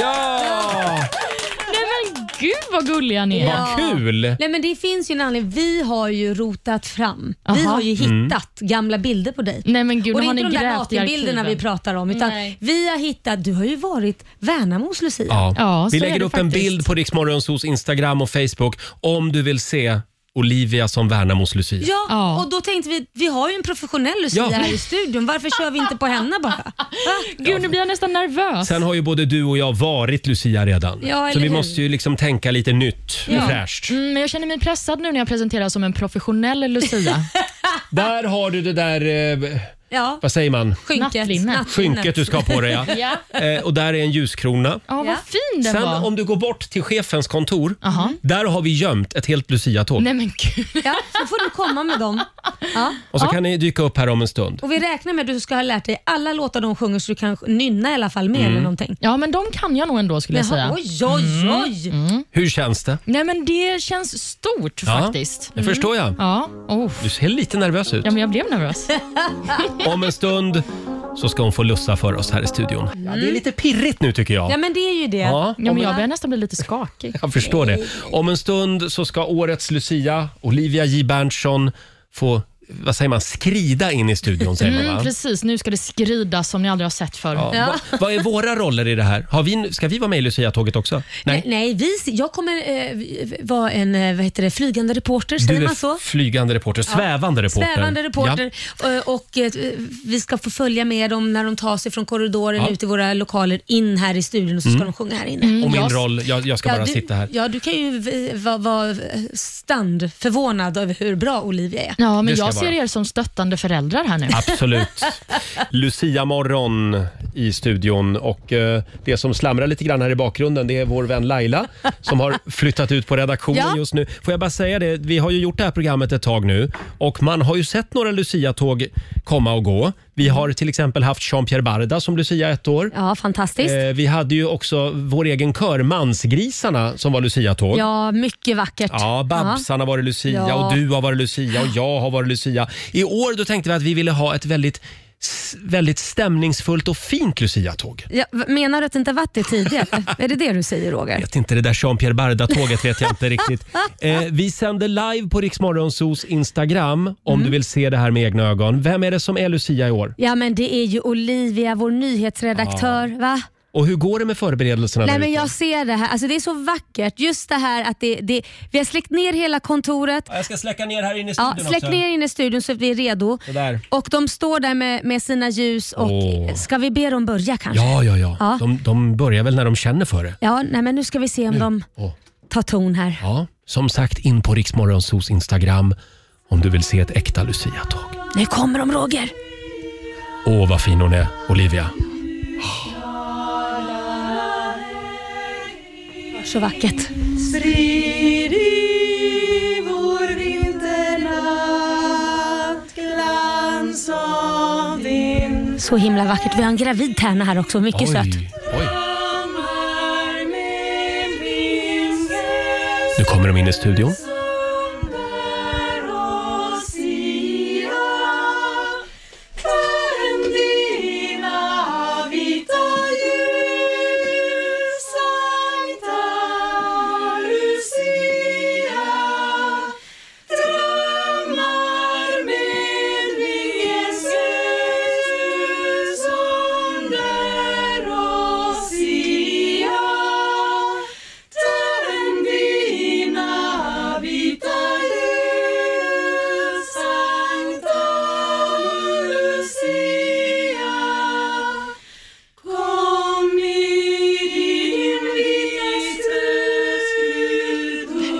Ja!
Nej men gud vad gulliga ni är.
Ja.
Vad kul!
Nej men det finns ju en anledning. Vi har ju rotat fram. Vi
Aha. Mm.
har ju hittat gamla bilder på dig.
Nej men gud,
Och
nu
det är
har ni
inte de där
grävt i
nakenbilderna
arkiven.
vi pratar om utan
Nej.
vi har hittat, du har ju varit Värnamos Lucia.
Ja.
Ja, så
Vi
är
lägger
det
upp en
faktiskt.
bild på Riksmorgonsos Instagram och Facebook om du vill se Olivia som Värnamos Lucia.
Ja,
Ja.
och då tänkte vi, vi har ju en professionell Lucia
Ja.
här i studion. Varför kör vi inte på henne bara? Va?
Gud, nu blir jag nästan nervös.
Sen har ju både du och jag varit Lucia redan.
Ja, eller
så vi
hur?
måste ju liksom tänka lite nytt och
Ja.
fräscht.
Mm, men jag känner mig
[LAUGHS]
pressad nu när jag presenteras som en professionell Lucia.
Där har du det där eh,
Ja,
Vad säger man?
skynket.
Nattlinne.
Skynket du ska ha på dig ja.
Ja,
Eh, och där är en ljuskrona.
ja vad
Ja.
fin den
Sen
var.
om du går bort till chefens kontor,
Jaha.
där har vi gömt ett helt luciatåg.
Nej men gud.
Ja, så får du komma med dem. Ja.
Och så kan ni dyka upp här om en stund.
Och vi räknar med att du ska ha lärt dig alla låtar de sjunger så du kan nynna i alla fall med
Mm.
eller någonting.
Ja men de kan jag nog ändå skulle jag
Jaha,
säga.
oj, oj,
Mm.
oj.
Hur känns det?
Nej men det känns stort
Ja.
faktiskt.
Det förstår
Mm.
jag.
Ja, oh.
Du ser lite nervös ut.
ja men jag blev [LAUGHS] nervös.
Om en stund så ska hon få lussa för oss här i studion. Ja, det är lite pirrigt nu tycker jag.
Mm. Ja, men det är ju det.
Ja,
Ja, men jag börjar nästan bli lite skakig.
jag förstår det. Om en stund så ska årets Lucia, Olivia J Berntsson, få vad säger man, skrida in i studion. Säger man,
Mm,
va?
precis, nu ska det skrida som ni aldrig har sett förr.
Ja. Va, vad är våra roller i det här? Har vi, ska vi vara med i Lucia-tåget också?
Nej, Nej vi, jag kommer eh, vi- vara en eh, vad heter det, flygande reporter, säger
Du
man
är
så?
flygande reporter, svävande reporter.
Svävande
Ja.
reporter. Eh, Och eh, vi ska få följa med dem när de tar sig från korridoren
Ja. Mm.
ut i våra lokaler in här i studion och så ska de sjunga här inne.
Och min
Jag-
roll, jag, jag ska bara
du,
sitta här.
Mm, ja, [LAUGHS] du kan ju eh, vara vara stand förvånad över hur bra Olivia är.
Ja,
Det
men
ska
jag
jag
ser
vara.
er som stöttande föräldrar här nu.
Absolut. Lucia morgon i studion och eh, det som slamrar lite grann här i bakgrunden det är vår vän Laila som [LAUGHS] har flyttat ut på redaktionen
Ja.
just nu. Får jag bara säga det, vi har ju gjort det här programmet ett tag nu och man har ju sett några Lucia-tåg komma och gå. Vi har till exempel haft Jean-Pierre Barda som Lucia ett år.
Ja, fantastiskt.
Eh, vi hade ju också vår egen kör Mansgrisarna som var Lucia-tåg.
Ja, mycket vackert.
Ja, Babsan har varit Lucia
Ja.
och du har varit Lucia och jag har varit Lucia. I år då tänkte vi att vi ville ha ett väldigt, s- väldigt stämningsfullt och fint Lucia-tåg.
Ja, v- menar du att det inte varit det tidigare?
[LAUGHS]
är det det du säger Roger?
Vet inte, det där Jean-Pierre Barda-tåget vet jag inte
[LAUGHS]
riktigt. Eh, vi sänder live på Riksmorgonsos Instagram om
Mm.
du vill se det här med egna ögon. Vem är det som är Lucia i år?
Ja men det är ju Olivia, vår nyhetsredaktör. Va?
Och hur går det med förberedelserna?
Nej
där
men
ute?
jag ser det här, alltså det är så vackert. Just det här att det, det, vi har släckt ner hela kontoret.
Ja, jag ska släcka ner här inne i
Ja,
studion
släck
också.
ner in i studion så att vi är redo.
Sådär.
Och de står där med, med sina ljus och
Åh.
ska vi be dem börja kanske?
Ja, ja, ja.
Ja.
De, de börjar väl när de känner för det.
Ja, nej men nu ska vi se om de
Åh.
tar ton här.
Ja, som sagt in på Riksmorgonsos Instagram om du vill se ett äkta Lucia-tåg.
Nu kommer de Roger!
Åh, vad fin hon är, Olivia.
Så vackert. Så himla vackert. Vi har en gravid tärna här också, mycket söt.
oj. Nu kommer de in i studion.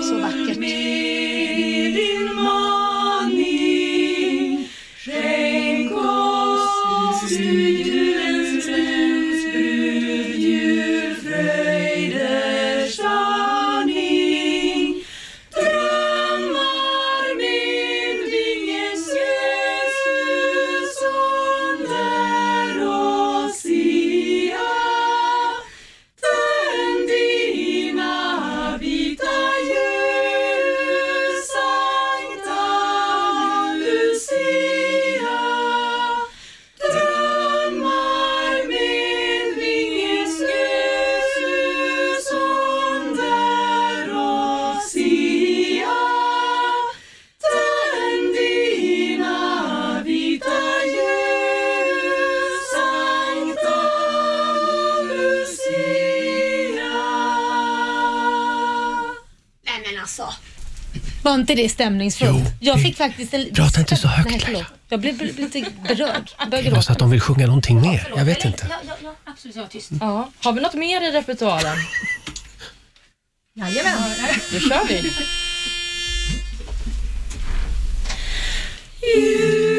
Så vackert. Nej men alltså. Var inte det stämningsfullt?
Jo,
jag
det-
fick faktiskt en...
Prata inte så högt,
Nej, förlåt. Jag blev bl- lite berörd. Jag började
Det var
gråta.
så att de vill sjunga någonting mer. Jag vet inte.
Ja, ja, ja, absolut. Jag var tyst.
Ja. Har vi något mer i repertoaren?
Jajamän.
Då kör vi.
Jul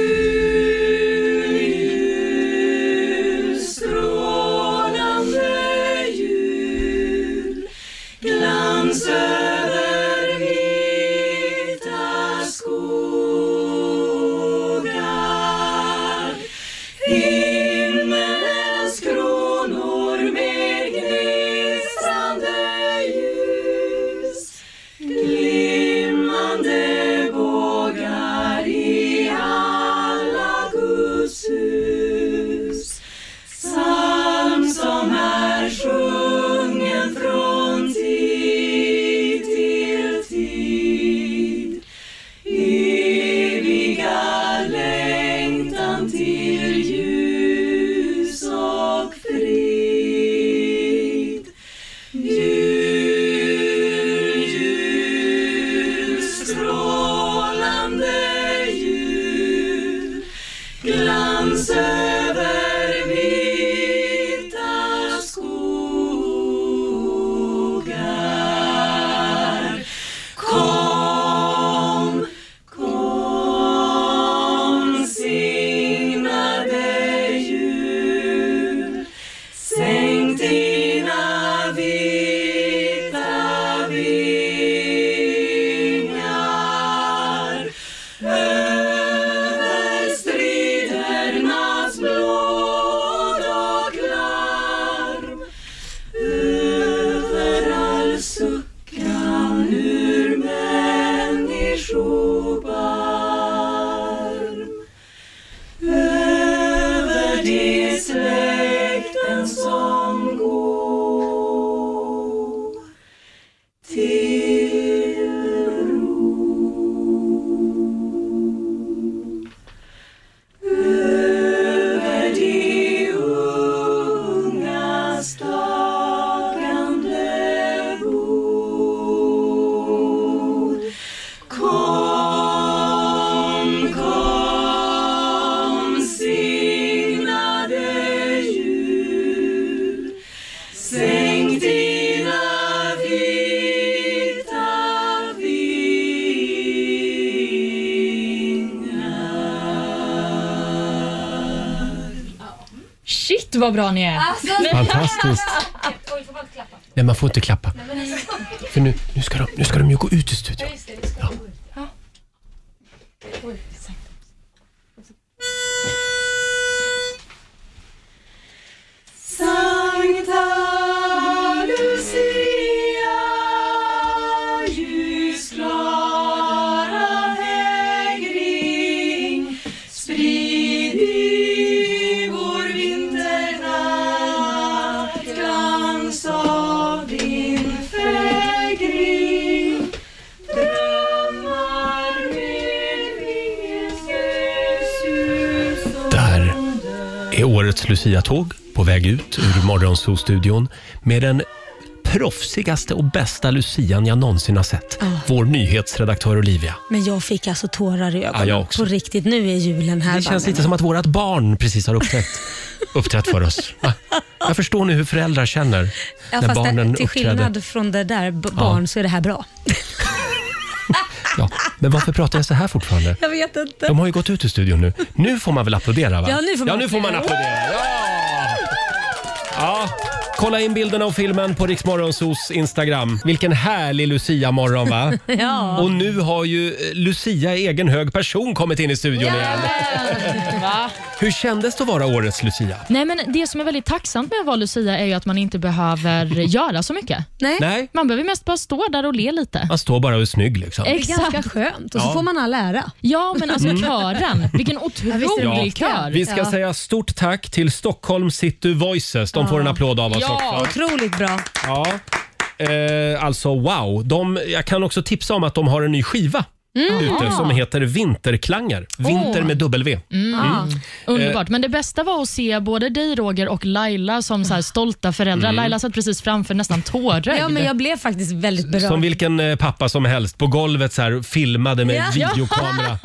Shit vad bra ni är!
Alltså,
Fantastiskt.
Oj, får man inte klappa?
Nej, man får inte klappa. För nu, nu, ska, de, nu ska de ju gå ut ur studion. Där är årets Lucia-tåg på väg ut ur Morgonzoo-studion med den proffsigaste och bästa lucian jag någonsin har sett. Vår nyhetsredaktör Olivia.
Men jag fick alltså tårar i
Ja,
ögonen.
jag också.
på riktigt, nu är julen här.
Det känns
Babben.
lite som att vårt barn precis har
[LAUGHS]
uppträtt, uppträtt för oss. Ah, Jag förstår nu hur föräldrar känner
ja,
när
fast
barnen
det, Till
uppträder.
skillnad från det där b- barn så är det här bra.
Ja, men varför pratar jag så här fortfarande?
Jag vet inte.
De har ju gått ut ur studion nu. Nu får man väl applådera? Va?
Ja, nu får man
ja, nu får man
applådera.
applådera. Ja! ja. Kolla in bilderna och filmen på Riksmorgonsos Instagram. Vilken härlig Lucia-morgon va?
[LAUGHS] Ja.
Och nu har ju eh, Lucia i egen hög person kommit in i studion igen.
Va?
Hur kändes det att vara årets
[LAUGHS]
Lucia?
Nej, men det som är väldigt tacksamt med att vara Lucia är ju att man inte behöver göra så mycket.
Nej.
Nej,
Man behöver mest bara stå där och le lite.
man står bara och är snygg liksom.
Det är ganska skönt och så
Ja.
får man all ära.
Ja, men alltså kören. Vilken otrolig
Ja.
kör.
Vi ska
Ja.
säga stort tack till Stockholm City Voices. De får en applåd av oss
Ja.
också.
Otroligt bra.
Ja. Eh, alltså wow. De, jag kan också tipsa om att de har en ny skiva
Mm. Ah.
ute som heter Vinterklanger. Vinter med W.
Mm. Ja.
Underbart. Men det bästa var att se både dig Roger och Laila som så här stolta föräldrar. Laila satt precis framför nästan tårögd.
ja, men jag blev faktiskt väldigt berörd.
Som vilken eh, pappa som helst på golvet så här, filmade med
[LAUGHS] Ja.
videokamera.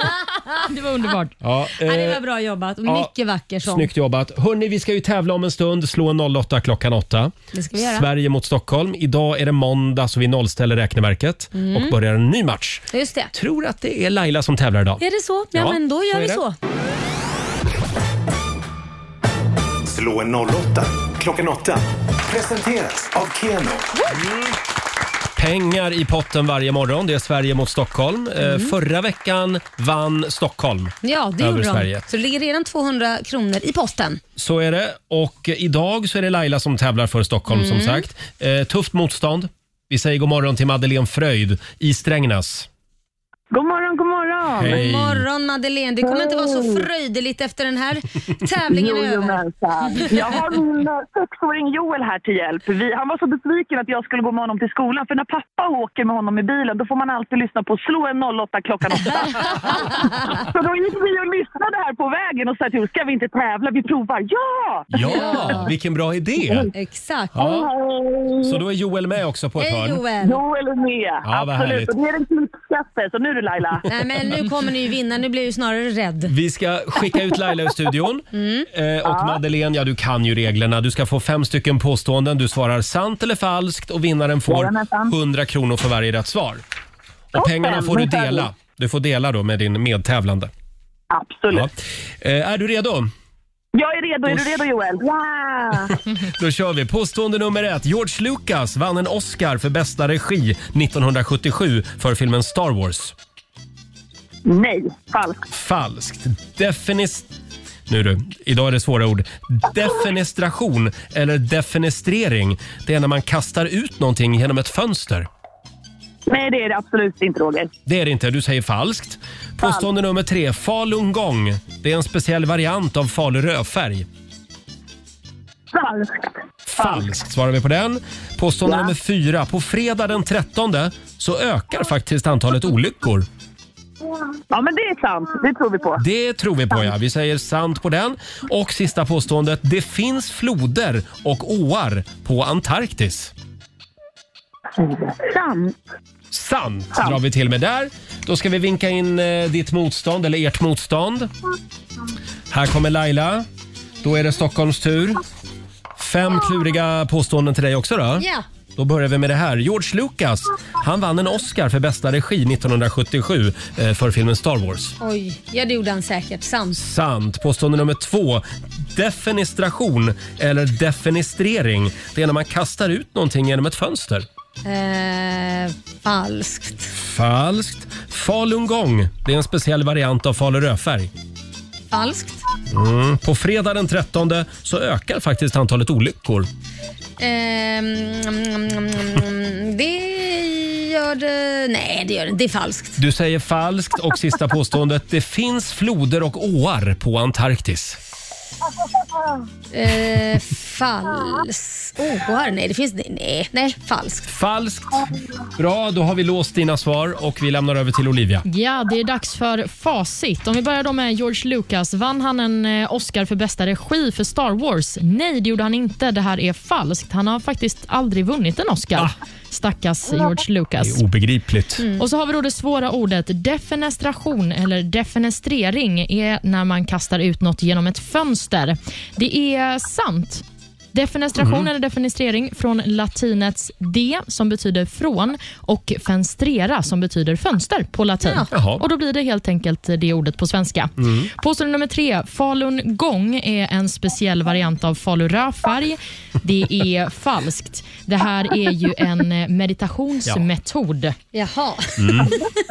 Det var underbart.
Ja,
ja, det
eh,
var bra jobbat och
ja,
mycket vacker sång.
Snyggt jobbat. Hörni, vi ska ju tävla om en stund. Slå en 08 klockan 8.
Det ska vi göra.
Sverige mot Stockholm. Idag är det måndag så vi nollställer räkneverket
Mm.
och börjar en ny match.
Just det.
Tror att det är Laila som tävlar idag.
Är det så? Ja,
Ja,
men då
så
gör
är
vi
det.
så.
Slå en 08 klockan 8. Presenteras av Keno.
Pengar i potten varje morgon. Det är Sverige mot Stockholm.
Mm.
Eh, Förra veckan vann Stockholm.
Ja, det
Över
gjorde
Sverige.
de. Så det ligger redan 200 kronor i potten.
Så är det. Och idag så är det Laila som tävlar för Stockholm
Mm.
som sagt. Eh, tufft motstånd. Vi säger god morgon till Madeleine Fröjd i Strängnäs.
God morgon, god morgon!
Hej.
God morgon Madeleine. Du kommer inte vara så fröjdeligt efter den här tävlingen är över.
Jojomensan. Jag har min eh, sexåring Joel här till hjälp. Vi, han var så besviken att jag skulle gå med honom till skolan. För när pappa åker med honom i bilen då får man alltid lyssna på Slå en 08 klockan 8. så då gick vi och lyssnade här på vägen och sa till Joel, ska vi inte tävla? Vi provar. Ja!
Ja, vilken bra idé!
Exakt.
Ja. Så då är Joel med också på ett
Hej
hörn.
Joel.
Joel är med.
vad härligt.
Absolut. Och det är den klipskaste. Så nu du Laila.
Nej, men nu kommer ni ju vinna. Nu blir jag ju snarare rädd.
Vi ska skicka ut Laila ur studion. Eh, och Madeleine, ja du kan ju reglerna. Du ska få fem stycken påståenden. Du svarar sant eller falskt och vinnaren får
Jajamensan.
100 kronor för varje rätt svar. Och pengarna får du
men härligt.
dela. Du får dela då med din medtävlande. Ja.
Absolut.
Eh, är du redo?
Jag är redo. Är du redo Joel? Ja!
Då kör vi. Påstående nummer ett. George Lucas vann en Oscar för bästa regi 1977 för filmen Star Wars.
Nej, falskt.
Falskt. Definist... Nu du, idag är det svåra ord. Defenestration eller defenestrering. Det är när man kastar ut någonting genom ett fönster.
Nej, det är det absolut inte Roger.
Det är det inte, du säger falskt. Påstående nummer tre. Falungong. Det är en speciell variant av farlig rödfärg.
Falskt.
Falskt svarar vi på den. Påstående nummer fyra. På fredag den 13 så ökar faktiskt antalet olyckor.
Ja, men det är sant. Det tror vi på.
Det tror vi på ja. Vi säger sant på den. Och sista påståendet. Det finns floder och åar på Antarktis.
Sant.
Sant drar vi till med där. Då ska vi vinka in eh, ditt motstånd, eller ert motstånd. Här kommer Laila. Då är det Stockholms tur. Fem kluriga påståenden till dig också då.
Ja,
Då börjar vi med det här. George Lucas, han vann en Oscar för bästa regi 1977 eh, för filmen Star Wars.
Oj, ja det gjorde han säkert. Sant.
Sant. Påstående nummer två. Defenestration eller defenestrering. Det är när man kastar ut någonting genom ett fönster.
Eh, falskt.
Falskt. Falungong. Det är en speciell variant av Falu rödfärg.
Falskt.
Mm. På fredag den 13 så ökar faktiskt antalet olyckor.
Ehm, mm, mm, mm, mm, det gör det... Nej, det gör det inte. Det är falskt.
Du säger falskt och sista påståendet. Det finns floder och åar på Antarktis.
Eh, falskt. Åar? Nej, det finns... Nej, nej, falskt.
Falskt. Bra, då har vi låst dina svar och vi lämnar över till Olivia.
Ja, det är dags för facit. Om vi börjar då med George Lucas. Vann han en eh, Oscar för bästa regi för Star Wars? Nej, det gjorde han inte. Det här är falskt. Han har faktiskt aldrig vunnit en Oscar. Stackars George Lucas.
Det är obegripligt.
Och så har vi då det svåra ordet defenestration eller defenestrering är när man kastar ut något genom ett fönster. Det är sant. Defenestration eller defenestrering från latinets de som betyder från och fenstrera som betyder fönster på latin.
Ja.
Jaha.
Och Då blir det helt enkelt det ordet på svenska. Påstående nummer tre. Falun gong är en speciell variant av falu rödfärg. Det är [LAUGHS] falskt. Det här är ju en meditationsmetod.
Jaha.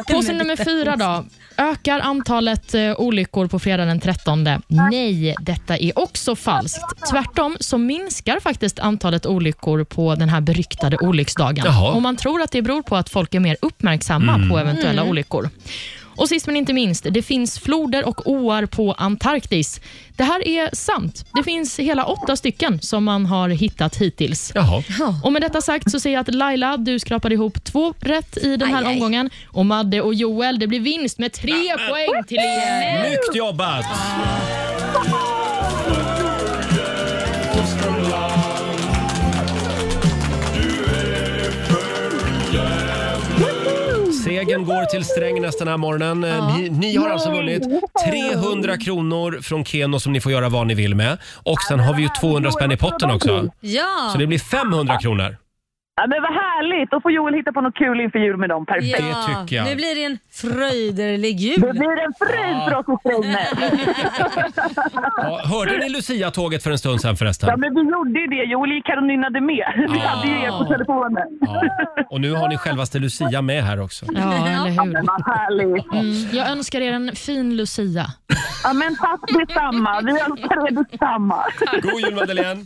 Påse nummer fyra då. Ökar antalet eh, olyckor på fredag den 13? Nej, detta är också falskt. Tvärtom så minskar faktiskt antalet olyckor på den här beryktade olycksdagen.
Jaha.
Och man tror att det beror på att folk är mer uppmärksamma på eventuella olyckor. Och sist men inte minst, det finns floder och åar på Antarktis. Det här är sant. Det finns hela åtta stycken som man har hittat hittills.
Jaha.
Och med detta sagt så ser jag att Laila, du skrapade ihop två rätt i den här
Aj, aj.
omgången. Och Madde och Joel, det blir vinst med tre poäng till er.
Snyggt jobbat! Segern går till Strängnäs den här morgonen. Eh, Ni, ni har alltså vunnit 300 kronor från Keno som ni får göra vad ni vill med. Och sen har vi ju 200 spänn i potten också.
Ja.
Så det blir 500 kronor.
Ja, men vad härligt! Då får Joel hitta på något kul inför jul med dem. Perfekt.
det tycker jag.
Nu blir det en fröjderlig
Det
jul.
blir en fröjd för oss i Strängnäs.
Ja, hörde ni Lucia-tåget för en stund sen förresten?
Ja, men vi gjorde ju det. Joel gick här och nynnade med. Vi hade ju er på telefonen.
Ja. Och nu har ni självaste Lucia med här också.
Ja, eller hur.
Men vad härligt.
Mm, jag önskar er en fin Lucia.
Ja, men tack detsamma. Vi önskar er detsamma.
God jul Madeleine!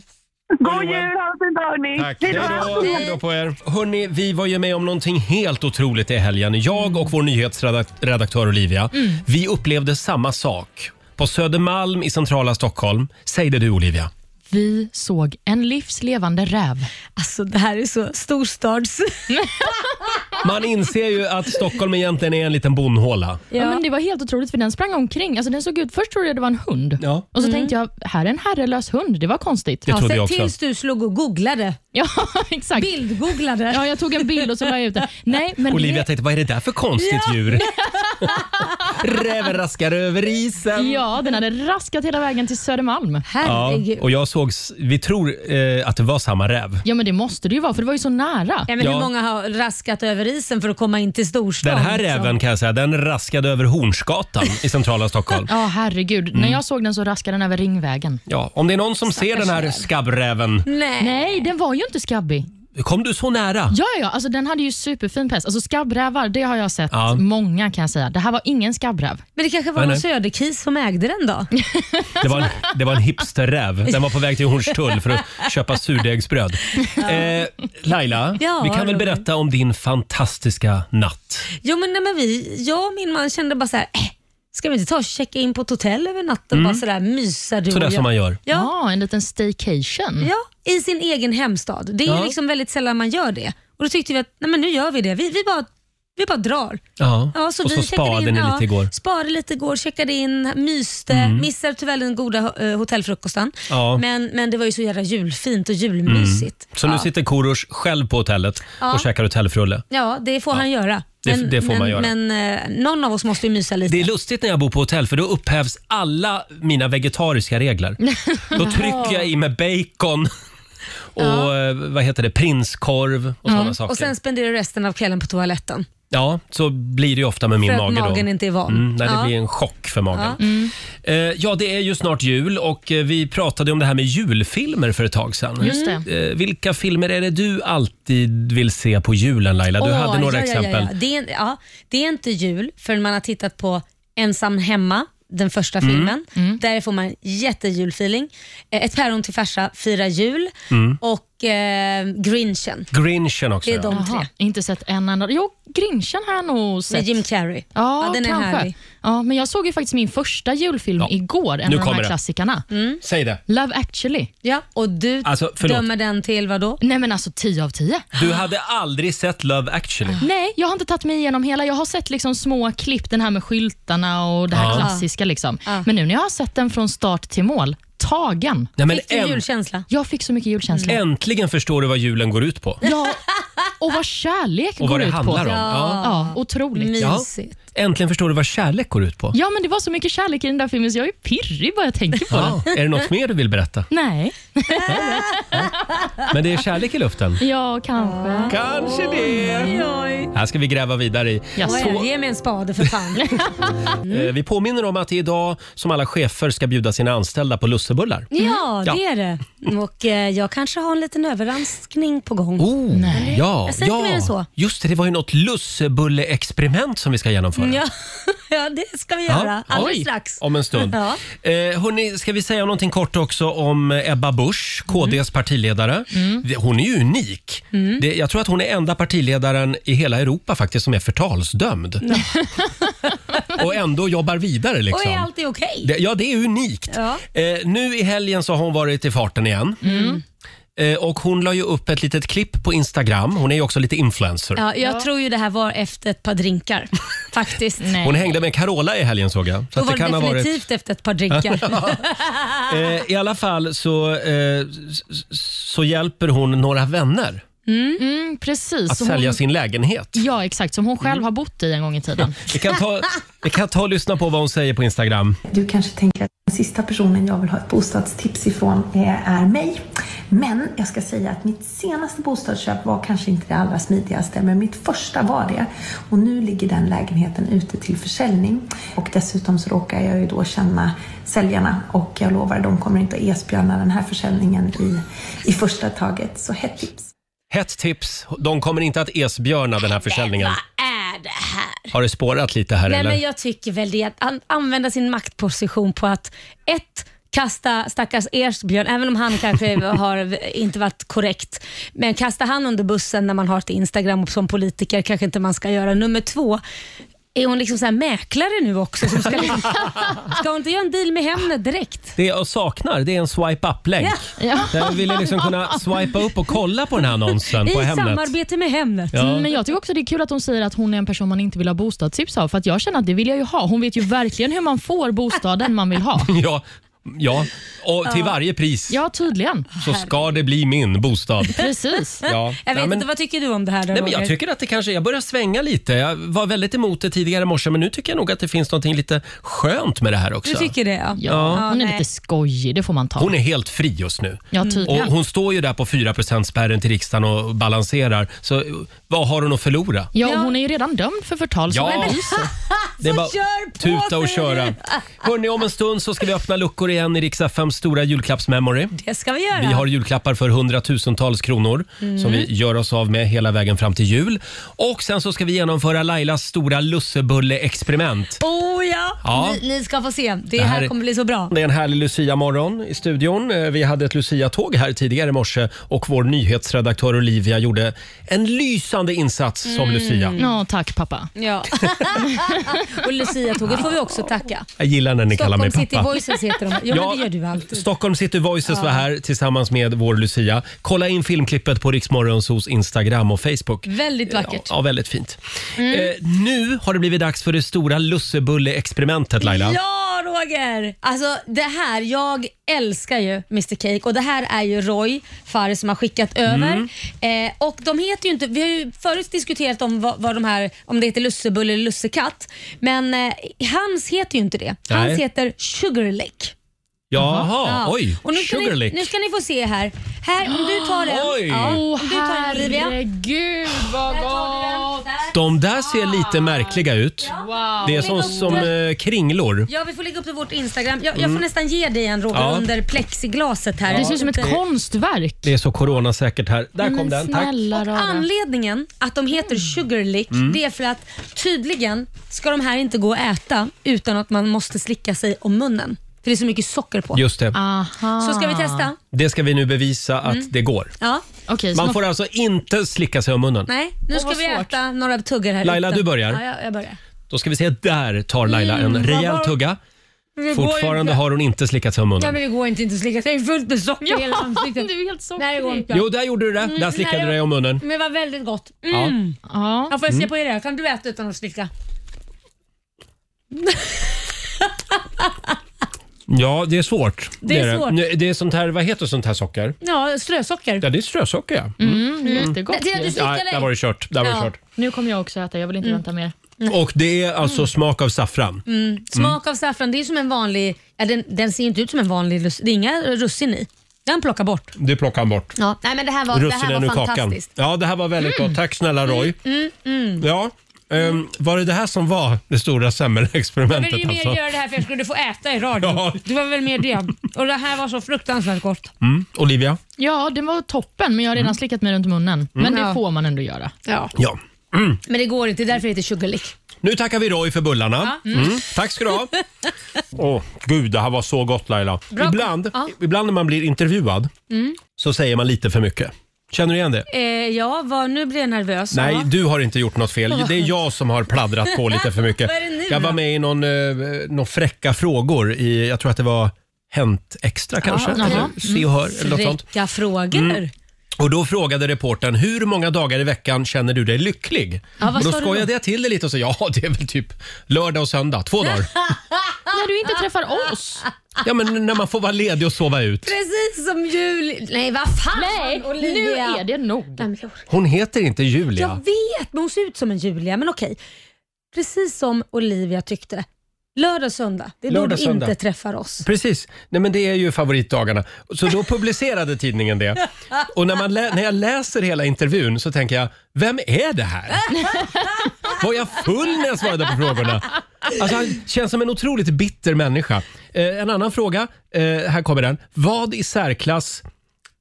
God jul! Ha en fin dag, hörni.
Tack! Hej då! Hej då på er! Hörni, vi var ju med om någonting helt otroligt i helgen. Jag och vår nyhetsredaktör Olivia, vi upplevde samma sak. På Södermalm i centrala Stockholm. Säg det du Olivia.
Vi såg en livslevande räv.
Alltså det här är så storstads...
Man inser ju att Stockholm egentligen är en liten bonhåla.
Ja. men det var helt otroligt för den sprang omkring. Alltså, den såg ut, först trodde jag det var en hund.
Ja.
Och så tänkte jag, här är en herrelös hund. Det var konstigt.
Det trodde jag
Sen
också.
tills du slog och googlade.
Ja, [LAUGHS] exakt.
Bildgooglade.
Ja, jag tog en bild och så la jag ut den. Nej, men
Olivia
det...
tänkte, vad är det där för konstigt [LAUGHS] djur? Räven raskar över isen.
Ja, den hade raskat hela vägen till Södermalm.
Ja,
Herregud.
och jag såg, s- vi tror eh, att det var samma räv.
Ja, men det måste det ju vara, för det var ju så nära.
Ja, men
Ja.
Hur många har raskat över isen för att komma in till storstan?
Den här
liksom?
räven kan jag säga, den raskade över Hornsgatan i centrala Stockholm.
Ja, herregud.
Mm.
När jag såg den så raskade den över Ringvägen.
Ja, om det är någon som ser den här skabbräven.
Nej.
Nej, den var ju inte skabbig.
Kom du så nära?
Ja, ja, ja. Alltså, den hade ju superfin päls. Alltså, skabbrävar, det har jag sett
Ja.
många kan jag säga. Det här var ingen skabbräv.
Men det kanske var
Nej,
någon
nej.
söderkis som ägde den då?
Det var en,
[LAUGHS]
det var en hipsterräv. Den var på väg till Hornstull för att köpa surdegsbröd. Eh, Laila,
Ja,
vi kan väl
Roger.
berätta om din fantastiska natt?
Jo men, nej, men vi, jag och min man kände bara så här, eh, ska vi inte ta och checka in på ett hotell över natten bara sådär mysa du och
Sådär
jag.
Mm. som man gör.
Ja,
Ja,
en liten staycation.
ja, i sin egen hemstad. Det är
Ja.
ju liksom väldigt sällan man gör det. Och då tyckte vi att nej, men nu gör vi det. Vi, vi, bara, vi bara drar.
Ja.
Ja, så
Och
vi
så
checkade
sparade
in,
ni
ja,
lite igår. Mm.
Sparade lite igår, checkade in, myste, missade tyvärr den goda eh, hotellfrukosten.
Ja. Mm.
Men, men det var ju så jävla julfint och julmysigt.
Så nu
ja.
sitter Korosh själv på hotellet
Ja.
och käkar hotellfrulle.
ja, det får han göra.
Det- det får
men,
man göra.
Men eh, någon av oss måste ju mysa lite.
Det är lustigt när jag bor på hotell för då
[LAUGHS]
upphävs alla mina vegetariska regler. Då trycker jag i mig bacon och eh, vad heter det, prinskorv och sådana saker.
Mm. Och sen spenderar du resten av kvällen på toaletten.
Ja, så blir det ju ofta med min
För att
mage då.
magen inte är van.
Mm, när det
Ja. Mm.
blir en chock för magen. Ja. ja, det är ju snart jul och eh, vi pratade om det här med julfilmer för ett tag sedan.
Just det.
Eh, Vilka filmer är det du alltid vill se på julen Laila? Du
Åh,
hade några
ja,
exempel.
Ja, ja, ja. Det, är, ja, det är inte jul förrän man har tittat på Ensam hemma, den första
Mm.
filmen.
Mm.
Där får man jättejulfeeling. Eh, Ett päron till farsa, Fira jul
Mm.
och eh, Grinchen
Grinchen också.
Det är
ja.
de.
Jaha, inte sett en enda. Jo, Grinchen har jag nog
med
sett.
Jim Carrey.
Ja,
den är
kanske.
härlig.
Ja, men jag såg ju faktiskt min första julfilm
Ja.
igår, en
Nu
av de
kommer
här
det.
klassikerna.
Säg det.
Love actually.
Ja, och du
Alltså, förlåt.
dömer den till vad då?
Nej men alltså 10 av 10.
Ah.
Du hade aldrig sett Love actually.
Nej, jag har inte tagit mig igenom hela. Jag har sett liksom små klipp, den här med skyltarna och det här
Ja.
klassiska. Liksom.
Ja.
Men nu när jag har sett den från start till mål, tagen.
Nej, men
Fick du
änt-
julkänsla?
Jag fick så mycket julkänsla.
Mm. äntligen förstår du vad julen går ut på
Ja, och vad kärlek
och
går
vad det
ut
handlar
på.
om. Ja.
Ja, otroligt.
Mysigt.
Äntligen förstår du vad kärlek går ut på.
Ja, men det var så mycket kärlek i den där filmen så jag är pirrig bara jag tänker på den.
Ja. Är det något mer du vill berätta?
Nej,
Men det är kärlek i luften.
ja kanske.
Kanske det.
Oj.
Här ska vi gräva vidare i.
Jaså.
Oj, Ge mig en spade för
[LAUGHS]
fan. Mm.
Eh, Vi påminner om att det är idag som alla chefer ska bjuda sina anställda på lussebullar.
Ja,
Ja.
det är det. Och eh, jag kanske har en liten överraskning på gång.
Oh, ja,
Jag säger inte mer än så.
Just det, det var ju något lussebulleexperiment som vi ska genomföra.
Ja, [LAUGHS] ja det ska vi göra alldeles
Oj.
strax.
Om en stund.
Ja.
Eh, hörni, ska vi säga någonting kort också om Ebba Busch,
Mm.
KDs partiledare. Det- Hon är ju unik. Det, jag tror att hon är enda partiledaren i hela Europa faktiskt som är förtalsdömd. [LAUGHS] Och ändå jobbar vidare
Och
liksom.
är allt det okej?
Det, ja, det är unikt.
Ja.
Eh, nu i helgen så har hon varit i farten igen.
Mm.
Eh, och Hon la ju upp ett litet klipp på Instagram. Hon är ju också lite influencer.
Ja, jag tror ju det här var efter ett
[LAUGHS]
par drinkar. Faktiskt.
Nej.
Hon hängde med Carola i helgen såg jag. Så
Då
att
var
det
det
kan ha varit...
definitivt efter ett
[LAUGHS]
par drinkar.
Eh, I alla fall så, eh, s- s- så hjälper hon några vänner
Mm, precis.
att
Så
sälja
hon,
sin lägenhet.
ja, exakt. Som hon själv har bott i en gång i tiden.
Vi kan, ta, vi kan ta och lyssna på vad hon säger på Instagram.
Du kanske tänker att den sista personen jag vill ha ett bostadstips ifrån är, är mig. Men jag ska säga att mitt senaste bostadsköp var kanske inte det allra smidigaste, men mitt första var det. Och nu ligger den lägenheten ute till försäljning. Och dessutom så råkar jag ju då känna säljarna och jag lovar, de kommer inte att esbjörna den här försäljningen i, i första taget. Så hett tips!
Hett tips. De kommer inte att esbjörna den här försäljningen.
Vad är det här?
Har det spårat lite här
Nej,
eller?
men jag tycker väl det att an- använda sin maktposition på att ett, kasta stackars Ersbjörn, även om
[LAUGHS]
han kanske har inte varit korrekt. Men kasta han under bussen när man har ett Instagram som politiker kanske inte man ska göra. Nummer två, är hon liksom så här mäklare nu
[LAUGHS]
också? Som ska, ska hon inte göra en deal med Hemnet direkt?
Det jag saknar det är en swipe up-länk.
Ja.
Jag ville liksom kunna swipa upp och kolla på den här annonsen
[LAUGHS] I
på Hemnet.
samarbete med Hemnet.
Ja.
Mm, Men jag tycker också det är kul att hon säger att hon är en person man inte vill ha bostadstips av. För att jag känner att det vill jag ju ha. Hon vet ju verkligen hur man får bostaden man vill ha.
Ja, ja. Och till varje pris
Ja, tydligen.
så ska det bli min
[LAUGHS]
bostad.
Precis.
Ja.
Jag vet
Ja, men-
inte, vad tycker du om det här då,
Nej, men jag
Roger?
tycker att det kanske, jag börjar svänga lite. Jag var väldigt emot det tidigare i morse men nu tycker jag nog att det finns någonting lite skönt med det här också.
Du tycker det ja.
Ja, hon är
nej.
lite skojig, det får man ta.
Hon är helt fri just nu.
Ja,
Och
tydligen.
hon står ju där på 4%-spärren till riksdagen och balanserar. Så eh, vad har hon att förlora?
Ja, hon är ju redan dömd för förtal. Så
Ja.
vem bryr sig?
Det är
Så
bara
kör på,
tuta och
säger
köra.
du.
Hörni, om en stund så ska vi öppna luckor igen i Riksa 5 stora julklappsmemory.
Det Mm. ska vi göra.
Vi har julklappar för hundratusentals kronor som vi gör oss av med hela vägen fram till jul. Och sen så ska vi genomföra Lailas stora lussebulle-experiment.
Oh ja,
Ja.
Ni, ni ska få se. Det,
här
här
är-
kommer bli så bra.
Det är en härlig Lucia-morgon i studion. Eh, Vi hade ett Lucia-tåg här tidigare i morse och vår nyhetsredaktör Olivia gjorde en lysande insats
Mm.
som Lucia.
Ja, tack pappa.
Ja. [LAUGHS] och Lucia-tåget får vi också tacka.
Jag gillar när ni kallar mig
Stockholm City
pappa.
Voices heter de. Jo, ja. men det gör du alltid.
Stockholm City Voices var här tillsammans med vår Lucia. Kolla in filmklippet på Riksmorgonsos Instagram och Facebook.
Väldigt Mm, vackert. Mm.
Ja, ja, väldigt fint. Eh, nu har det blivit dags för det stora lussebulle-experimentet Laila.
Ja, Roger! Alltså det här, jag älskar ju Mr Cake och det här är ju Roy Fares som har skickat
Mm.
över. Eh, och de heter ju inte, vi har ju förut diskuterat om vad, vad de här, om det heter lussebulle eller lussekatt, men eh, hans heter ju inte det. Hans
Nej.
heter Sugarlick.
Jaha,
Ja.
oj.
Och nu ska, ni,
Sugarlick.
nu ska ni få se här. Här, om du tar den.
Oj.
Ja,
Åh
om du tar den Olivia. Där
herregud vad
tar du den.
gott!
Där.
De där ser lite märkliga ut.
Wow.
Det är som, som eh, kringlor.
Ja, vi får lägga upp det på vårt Instagram. Jag, jag får nästan ge dig en Roger
Mm. Ja.
under plexiglaset här.
Det ser ut som ett konstverk.
Det är så coronasäkert här. Där kom
Men
den, tack.
snälla
Och
rara.
anledningen att de heter Sugarlick, det är för att tydligen ska de här inte gå att äta utan att man måste slicka sig om munnen. För det är så mycket socker på.
Just det.
Aha.
Så ska vi testa?
Det ska vi nu bevisa att
Mm.
det går.
Ja.
Okej, så
Man får alltså inte slicka sig om munnen.
Nej, nu ska
vad
vi
svårt.
äta några tuggar här.
Laila,
utan.
du börjar.
Ja, jag, jag börjar.
Då ska vi se, där tar Laila
Mm,
en rejäl tugga. Fortfarande har hon inte slickat sig om
Ja,
munnen.
men det går inte, inte att slicka sig. Det är fullt med socker i hela ansiktet.
Du är helt sockrig.
Nej, [LAUGHS] det går inte.
Jo, där gjorde du det.
Mm,
Där slickade du dig om munnen.
Men det var väldigt gott. Mm.
Ja.
Ja.
Jag får se på er här. Kan du äta utan att slicka?
ja, det är svårt.
Det är svårt.
Det. det är sånt här, vad heter sånt här socker?
Ja, strösocker.
Ja, det är strösocker ja.
Mm, det är jättegott.
Nej, Mm. Tina, du
ju.
slickar
Nej, där var
dig.
det kört. Där var det
Ja.
kört.
Nu kommer jag också äta, jag vill inte vänta mer.
Och det är alltså
Mm.
smak av saffran.
Smak av saffran. Det är som en vanlig... Ja, den, den ser ju inte ut som en vanlig russin. Det är inga russin i. Den plockar bort.
Det plockar han bort.
Ja. Nej, men det här var, det här
Russinen ur
var
kakan.
fantastiskt. Mm.
Ja, det här var väldigt gott. Tack snälla Roy. Ja, ehm, var det det här som var det stora
Jag ville
semmelexperimentet
ju mer
alltså?
göra det här för jag skulle få äta i radio.
Ja.
Det var väl mer det. Och det här var så fruktansvärt gott.
Mm. Olivia?
Ja, det var toppen, men jag har redan slickat mig runt munnen. Men det
Ja.
får man ändå göra.
Ja.
Ja.
Men det går inte, det är därför det heter sugarlick.
Nu tackar vi Roy för bullarna. Mm. Tack ska du
[LAUGHS]
ha. Åh, gud, det här var så gott Laila. Ibland,
Ja.
ibland när man blir intervjuad så säger man lite för mycket. Känner du igen det?
Eh, ja, vad, nu blir jag nervös.
Nej,
Ja.
du har inte gjort något fel. Det är jag som har pladdrat på lite för mycket.
[LAUGHS] Vad är det nu
jag var
då?
med i någon, eh, någon fräcka frågor i, jag tror att det var Hänt Extra kanske?
jaha.
Eller
Mm.
Se och hör eller något sånt. Mm.
Fräcka frågor.
Och då frågade reportern hur många dagar i veckan känner du dig lycklig?
Ja, vad
och då
sa du
skojade jag till det lite och sa ja, det är väl typ lördag och söndag,
[LAUGHS]
två dagar.
När du inte träffar oss.
[LAUGHS] Ja, men när man får vara ledig och sova ut.
Precis som jul... Nej, vad fan
Nej, nu
Olivia!
är det nog.
Nej, men jag,
Hon heter inte Julia.
jag vet, men hon ser ut som en Julia. Men okej. Precis som Olivia tyckte. Lördag och söndag, det är
Lördag
då
och
du
söndag.
inte träffar oss.
Precis. Nej, men det är ju favoritdagarna. Så då publicerade tidningen det. Och när, man lä- när jag läser hela intervjun så tänker jag, vem är det här? Var jag full när jag svarade på frågorna? Alltså, han känns som en otroligt bitter människa. Eh, en annan fråga, eh, här kommer den. Vad i särklass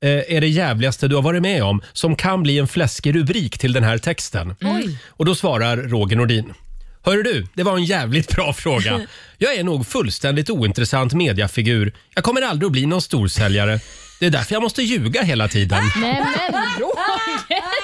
eh, är det jävligaste du har varit med om som kan bli en fläskig rubrik till den här texten?
Mm.
Och då svarar Roger Nordin. Hör du, det var en jävligt bra [LAUGHS] fråga. Jag är nog fullständigt ointressant mediafigur. Jag kommer aldrig att bli någon storsäljare. Det är därför jag måste ljuga hela tiden.
[LAUGHS] Nej, men Roger!
[LAUGHS]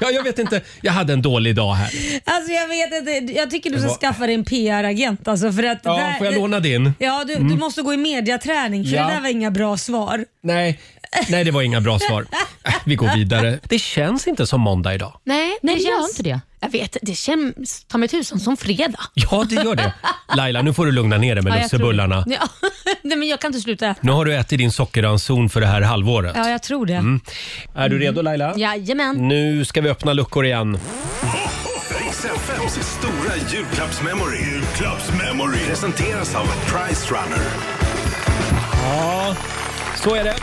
Ja, jag vet inte, jag hade en dålig dag här.
Alltså jag vet inte, jag tycker du ska
var-
skaffa dig en PR-agent alltså för att det
Ja,
där,
får jag låna din?
Ja, du, du måste gå i mediaträning för
Mm. Ja.
det där var inga bra svar.
Nej, nej det var inga bra svar. Äh, Vi går vidare. Det känns inte som måndag idag.
Nej,
Nej, gör inte det.
Jag vet, det känns ta mig tusan som fredag.
Ja, det gör det. Laila, nu får du lugna ner dig med lussebullarna.
Ja, [LAUGHS] nej men jag kan inte sluta äta.
Nu har du ätit din sockerranson för det här halvåret.
Ja, jag tror det.
Mm. Är du redo Laila?
Jajamän.
Nu ska vi öppna luckor igen.
Riks FMs stora julklappsmemory. Julklappsmemory. Presenteras av Price Runner.
Så är det.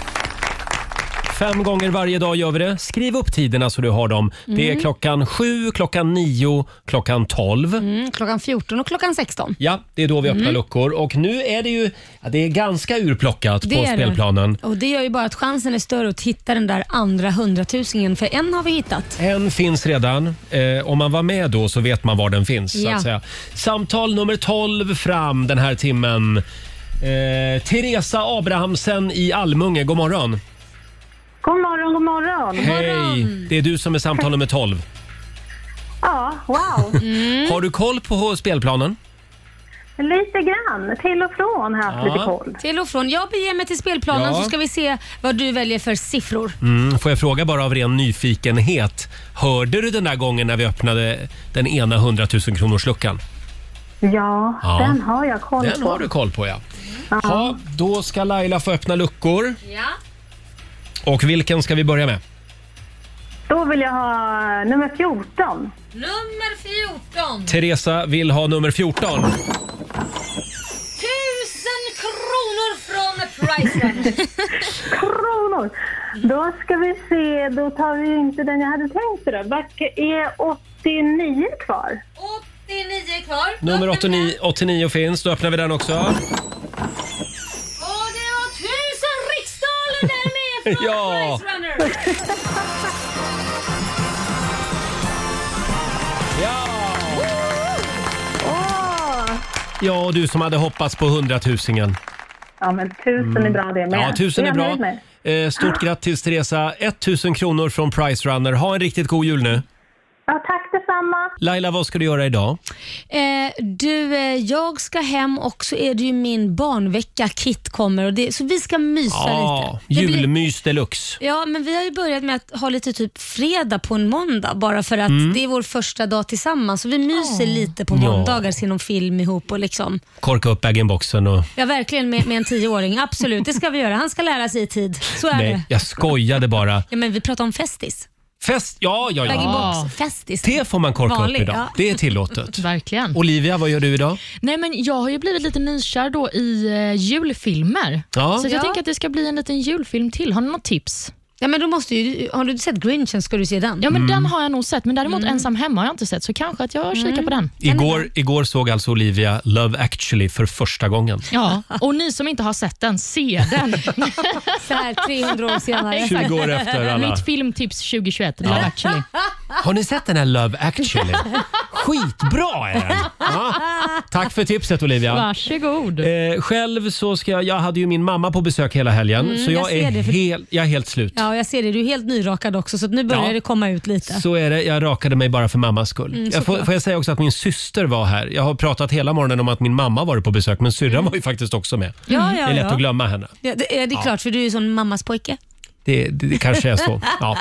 Fem gånger varje dag gör vi det. Skriv upp tiderna så du har dem. Det är klockan sju, klockan nio, klockan tolv.
Mm, klockan 14 och klockan 16.
Ja, det är då vi öppnar luckor. Och nu är det ju ja, det är ganska urplockat
Det
på
är det.
spelplanen.
Och Det gör ju bara att chansen är större att hitta den där andra hundratusingen, för en har vi hittat.
En finns redan. Eh, om man var med då så vet man var den finns. Så
Ja.
att säga. Samtal nummer 12 fram den här timmen. Eh, Teresa Abrahamsen i Almunge, god morgon.
God morgon, god morgon.
Hej! Det är du som är samtal nummer 12.
Ja, wow. Mm.
Har du koll på spelplanen?
Lite grann. Till och från har jag haft
Ja.
lite koll.
Till och från. Jag beger mig till spelplanen
Ja.
så ska vi se vad du väljer för siffror.
Mm, får jag fråga bara av ren nyfikenhet. Hörde du den där gången när vi öppnade den ena 100 000 kronors luckan?
Ja,
Ja.
den har jag koll
Den
på.
har du koll på ja. Ja, då ska Laila få öppna luckor.
Ja.
Och vilken ska vi börja med?
Då vill jag ha nummer 14.
Nummer 14.
Teresa vill ha nummer 14.
Tusen Bajsvän.
kronor. Då ska vi se, då tar vi inte den jag hade tänkt idag. Back är 89 kvar.
89 kvar.
Nummer 89, 89 finns, då öppnar vi den också.
Och det var tusen riksdaler därmed från
[LAUGHS] Ja.
Price Runner.
Ja! Ja, och du som hade hoppats på hundratusingen.
Ja, men tusen är bra det med.
Mm. Ja, tusen
Det
är
jag
bra.
nöjd med.
Eh, Stort grattis Teresa, 1000 kronor från Price Runner. Ha en riktigt god jul nu.
Ja, tack detsamma.
Laila, vad ska du göra idag?
Eh, du, eh, jag ska hem och så är det ju min barnvecka. Kit kommer och det, så vi ska mysa
Ja,
lite. Det blir-
julmys deluxe.
Ja, men vi har ju börjat med att ha lite typ fredag på en måndag bara för att
Mm.
det är vår första dag tillsammans. Så vi myser lite på måndagar, ser någon film ihop och liksom.
Korka upp bag-in-boxen och...
Ja, verkligen med, med en tioåring. Absolut, det ska vi göra. Han ska lära sig i tid. Så är
Nej,
det.
jag skojade bara.
Ja, men vi pratar om festis.
Fest, ja, ja,
bag in
ja.
Ah.
box festis.
Det får man korka
Vanlig,
upp idag.
ja.
Det är tillåtet.
Verkligen.
Olivia, vad gör du idag?
Nej, men jag har ju blivit lite nykär då i eh, julfilmer.
Ja.
Så att jag
Ja.
tänker att det ska bli en liten julfilm till. Har ni något tips?
Ja, men då måste ju, har du sett Grinchen ska du se den.
Ja, men Den har jag nog sett, men däremot Ensam hemma har jag inte sett, så kanske att jag kikar på den.
Igår, igår såg alltså Olivia Love actually för första gången.
Ja, [LAUGHS] och ni som inte har sett den, se den.
Så här 300 år senare.
20 år
[LAUGHS]
efter alla.
Mitt filmtips 2021, Love actually.
Har ni sett den här Love actually? Skitbra är den! Ja. Tack för tipset Olivia.
Varsågod.
Eh, själv så ska jag, jag hade ju min mamma på besök hela helgen så jag,
Mm, jag ser
är
det, för-
hel, jag är helt slut.
Ja, och jag ser det. Du är helt nyrakad också, så att nu börjar
Ja. Mm.
det komma ut lite.
Så är det, jag rakade mig bara för mammas skull.
Mm,
jag får, får jag säga också att min syster var här. Jag har pratat hela morgonen om att min mamma varit på besök men syrran var ju faktiskt också med.
Ja, Mm. ja,
Det är lätt
ja. eh,
att glömma henne.
Ja, det, är det är klart, för du är ju sån mammas pojke. [LAUGHS]
Det, det, det kanske är så. Ja.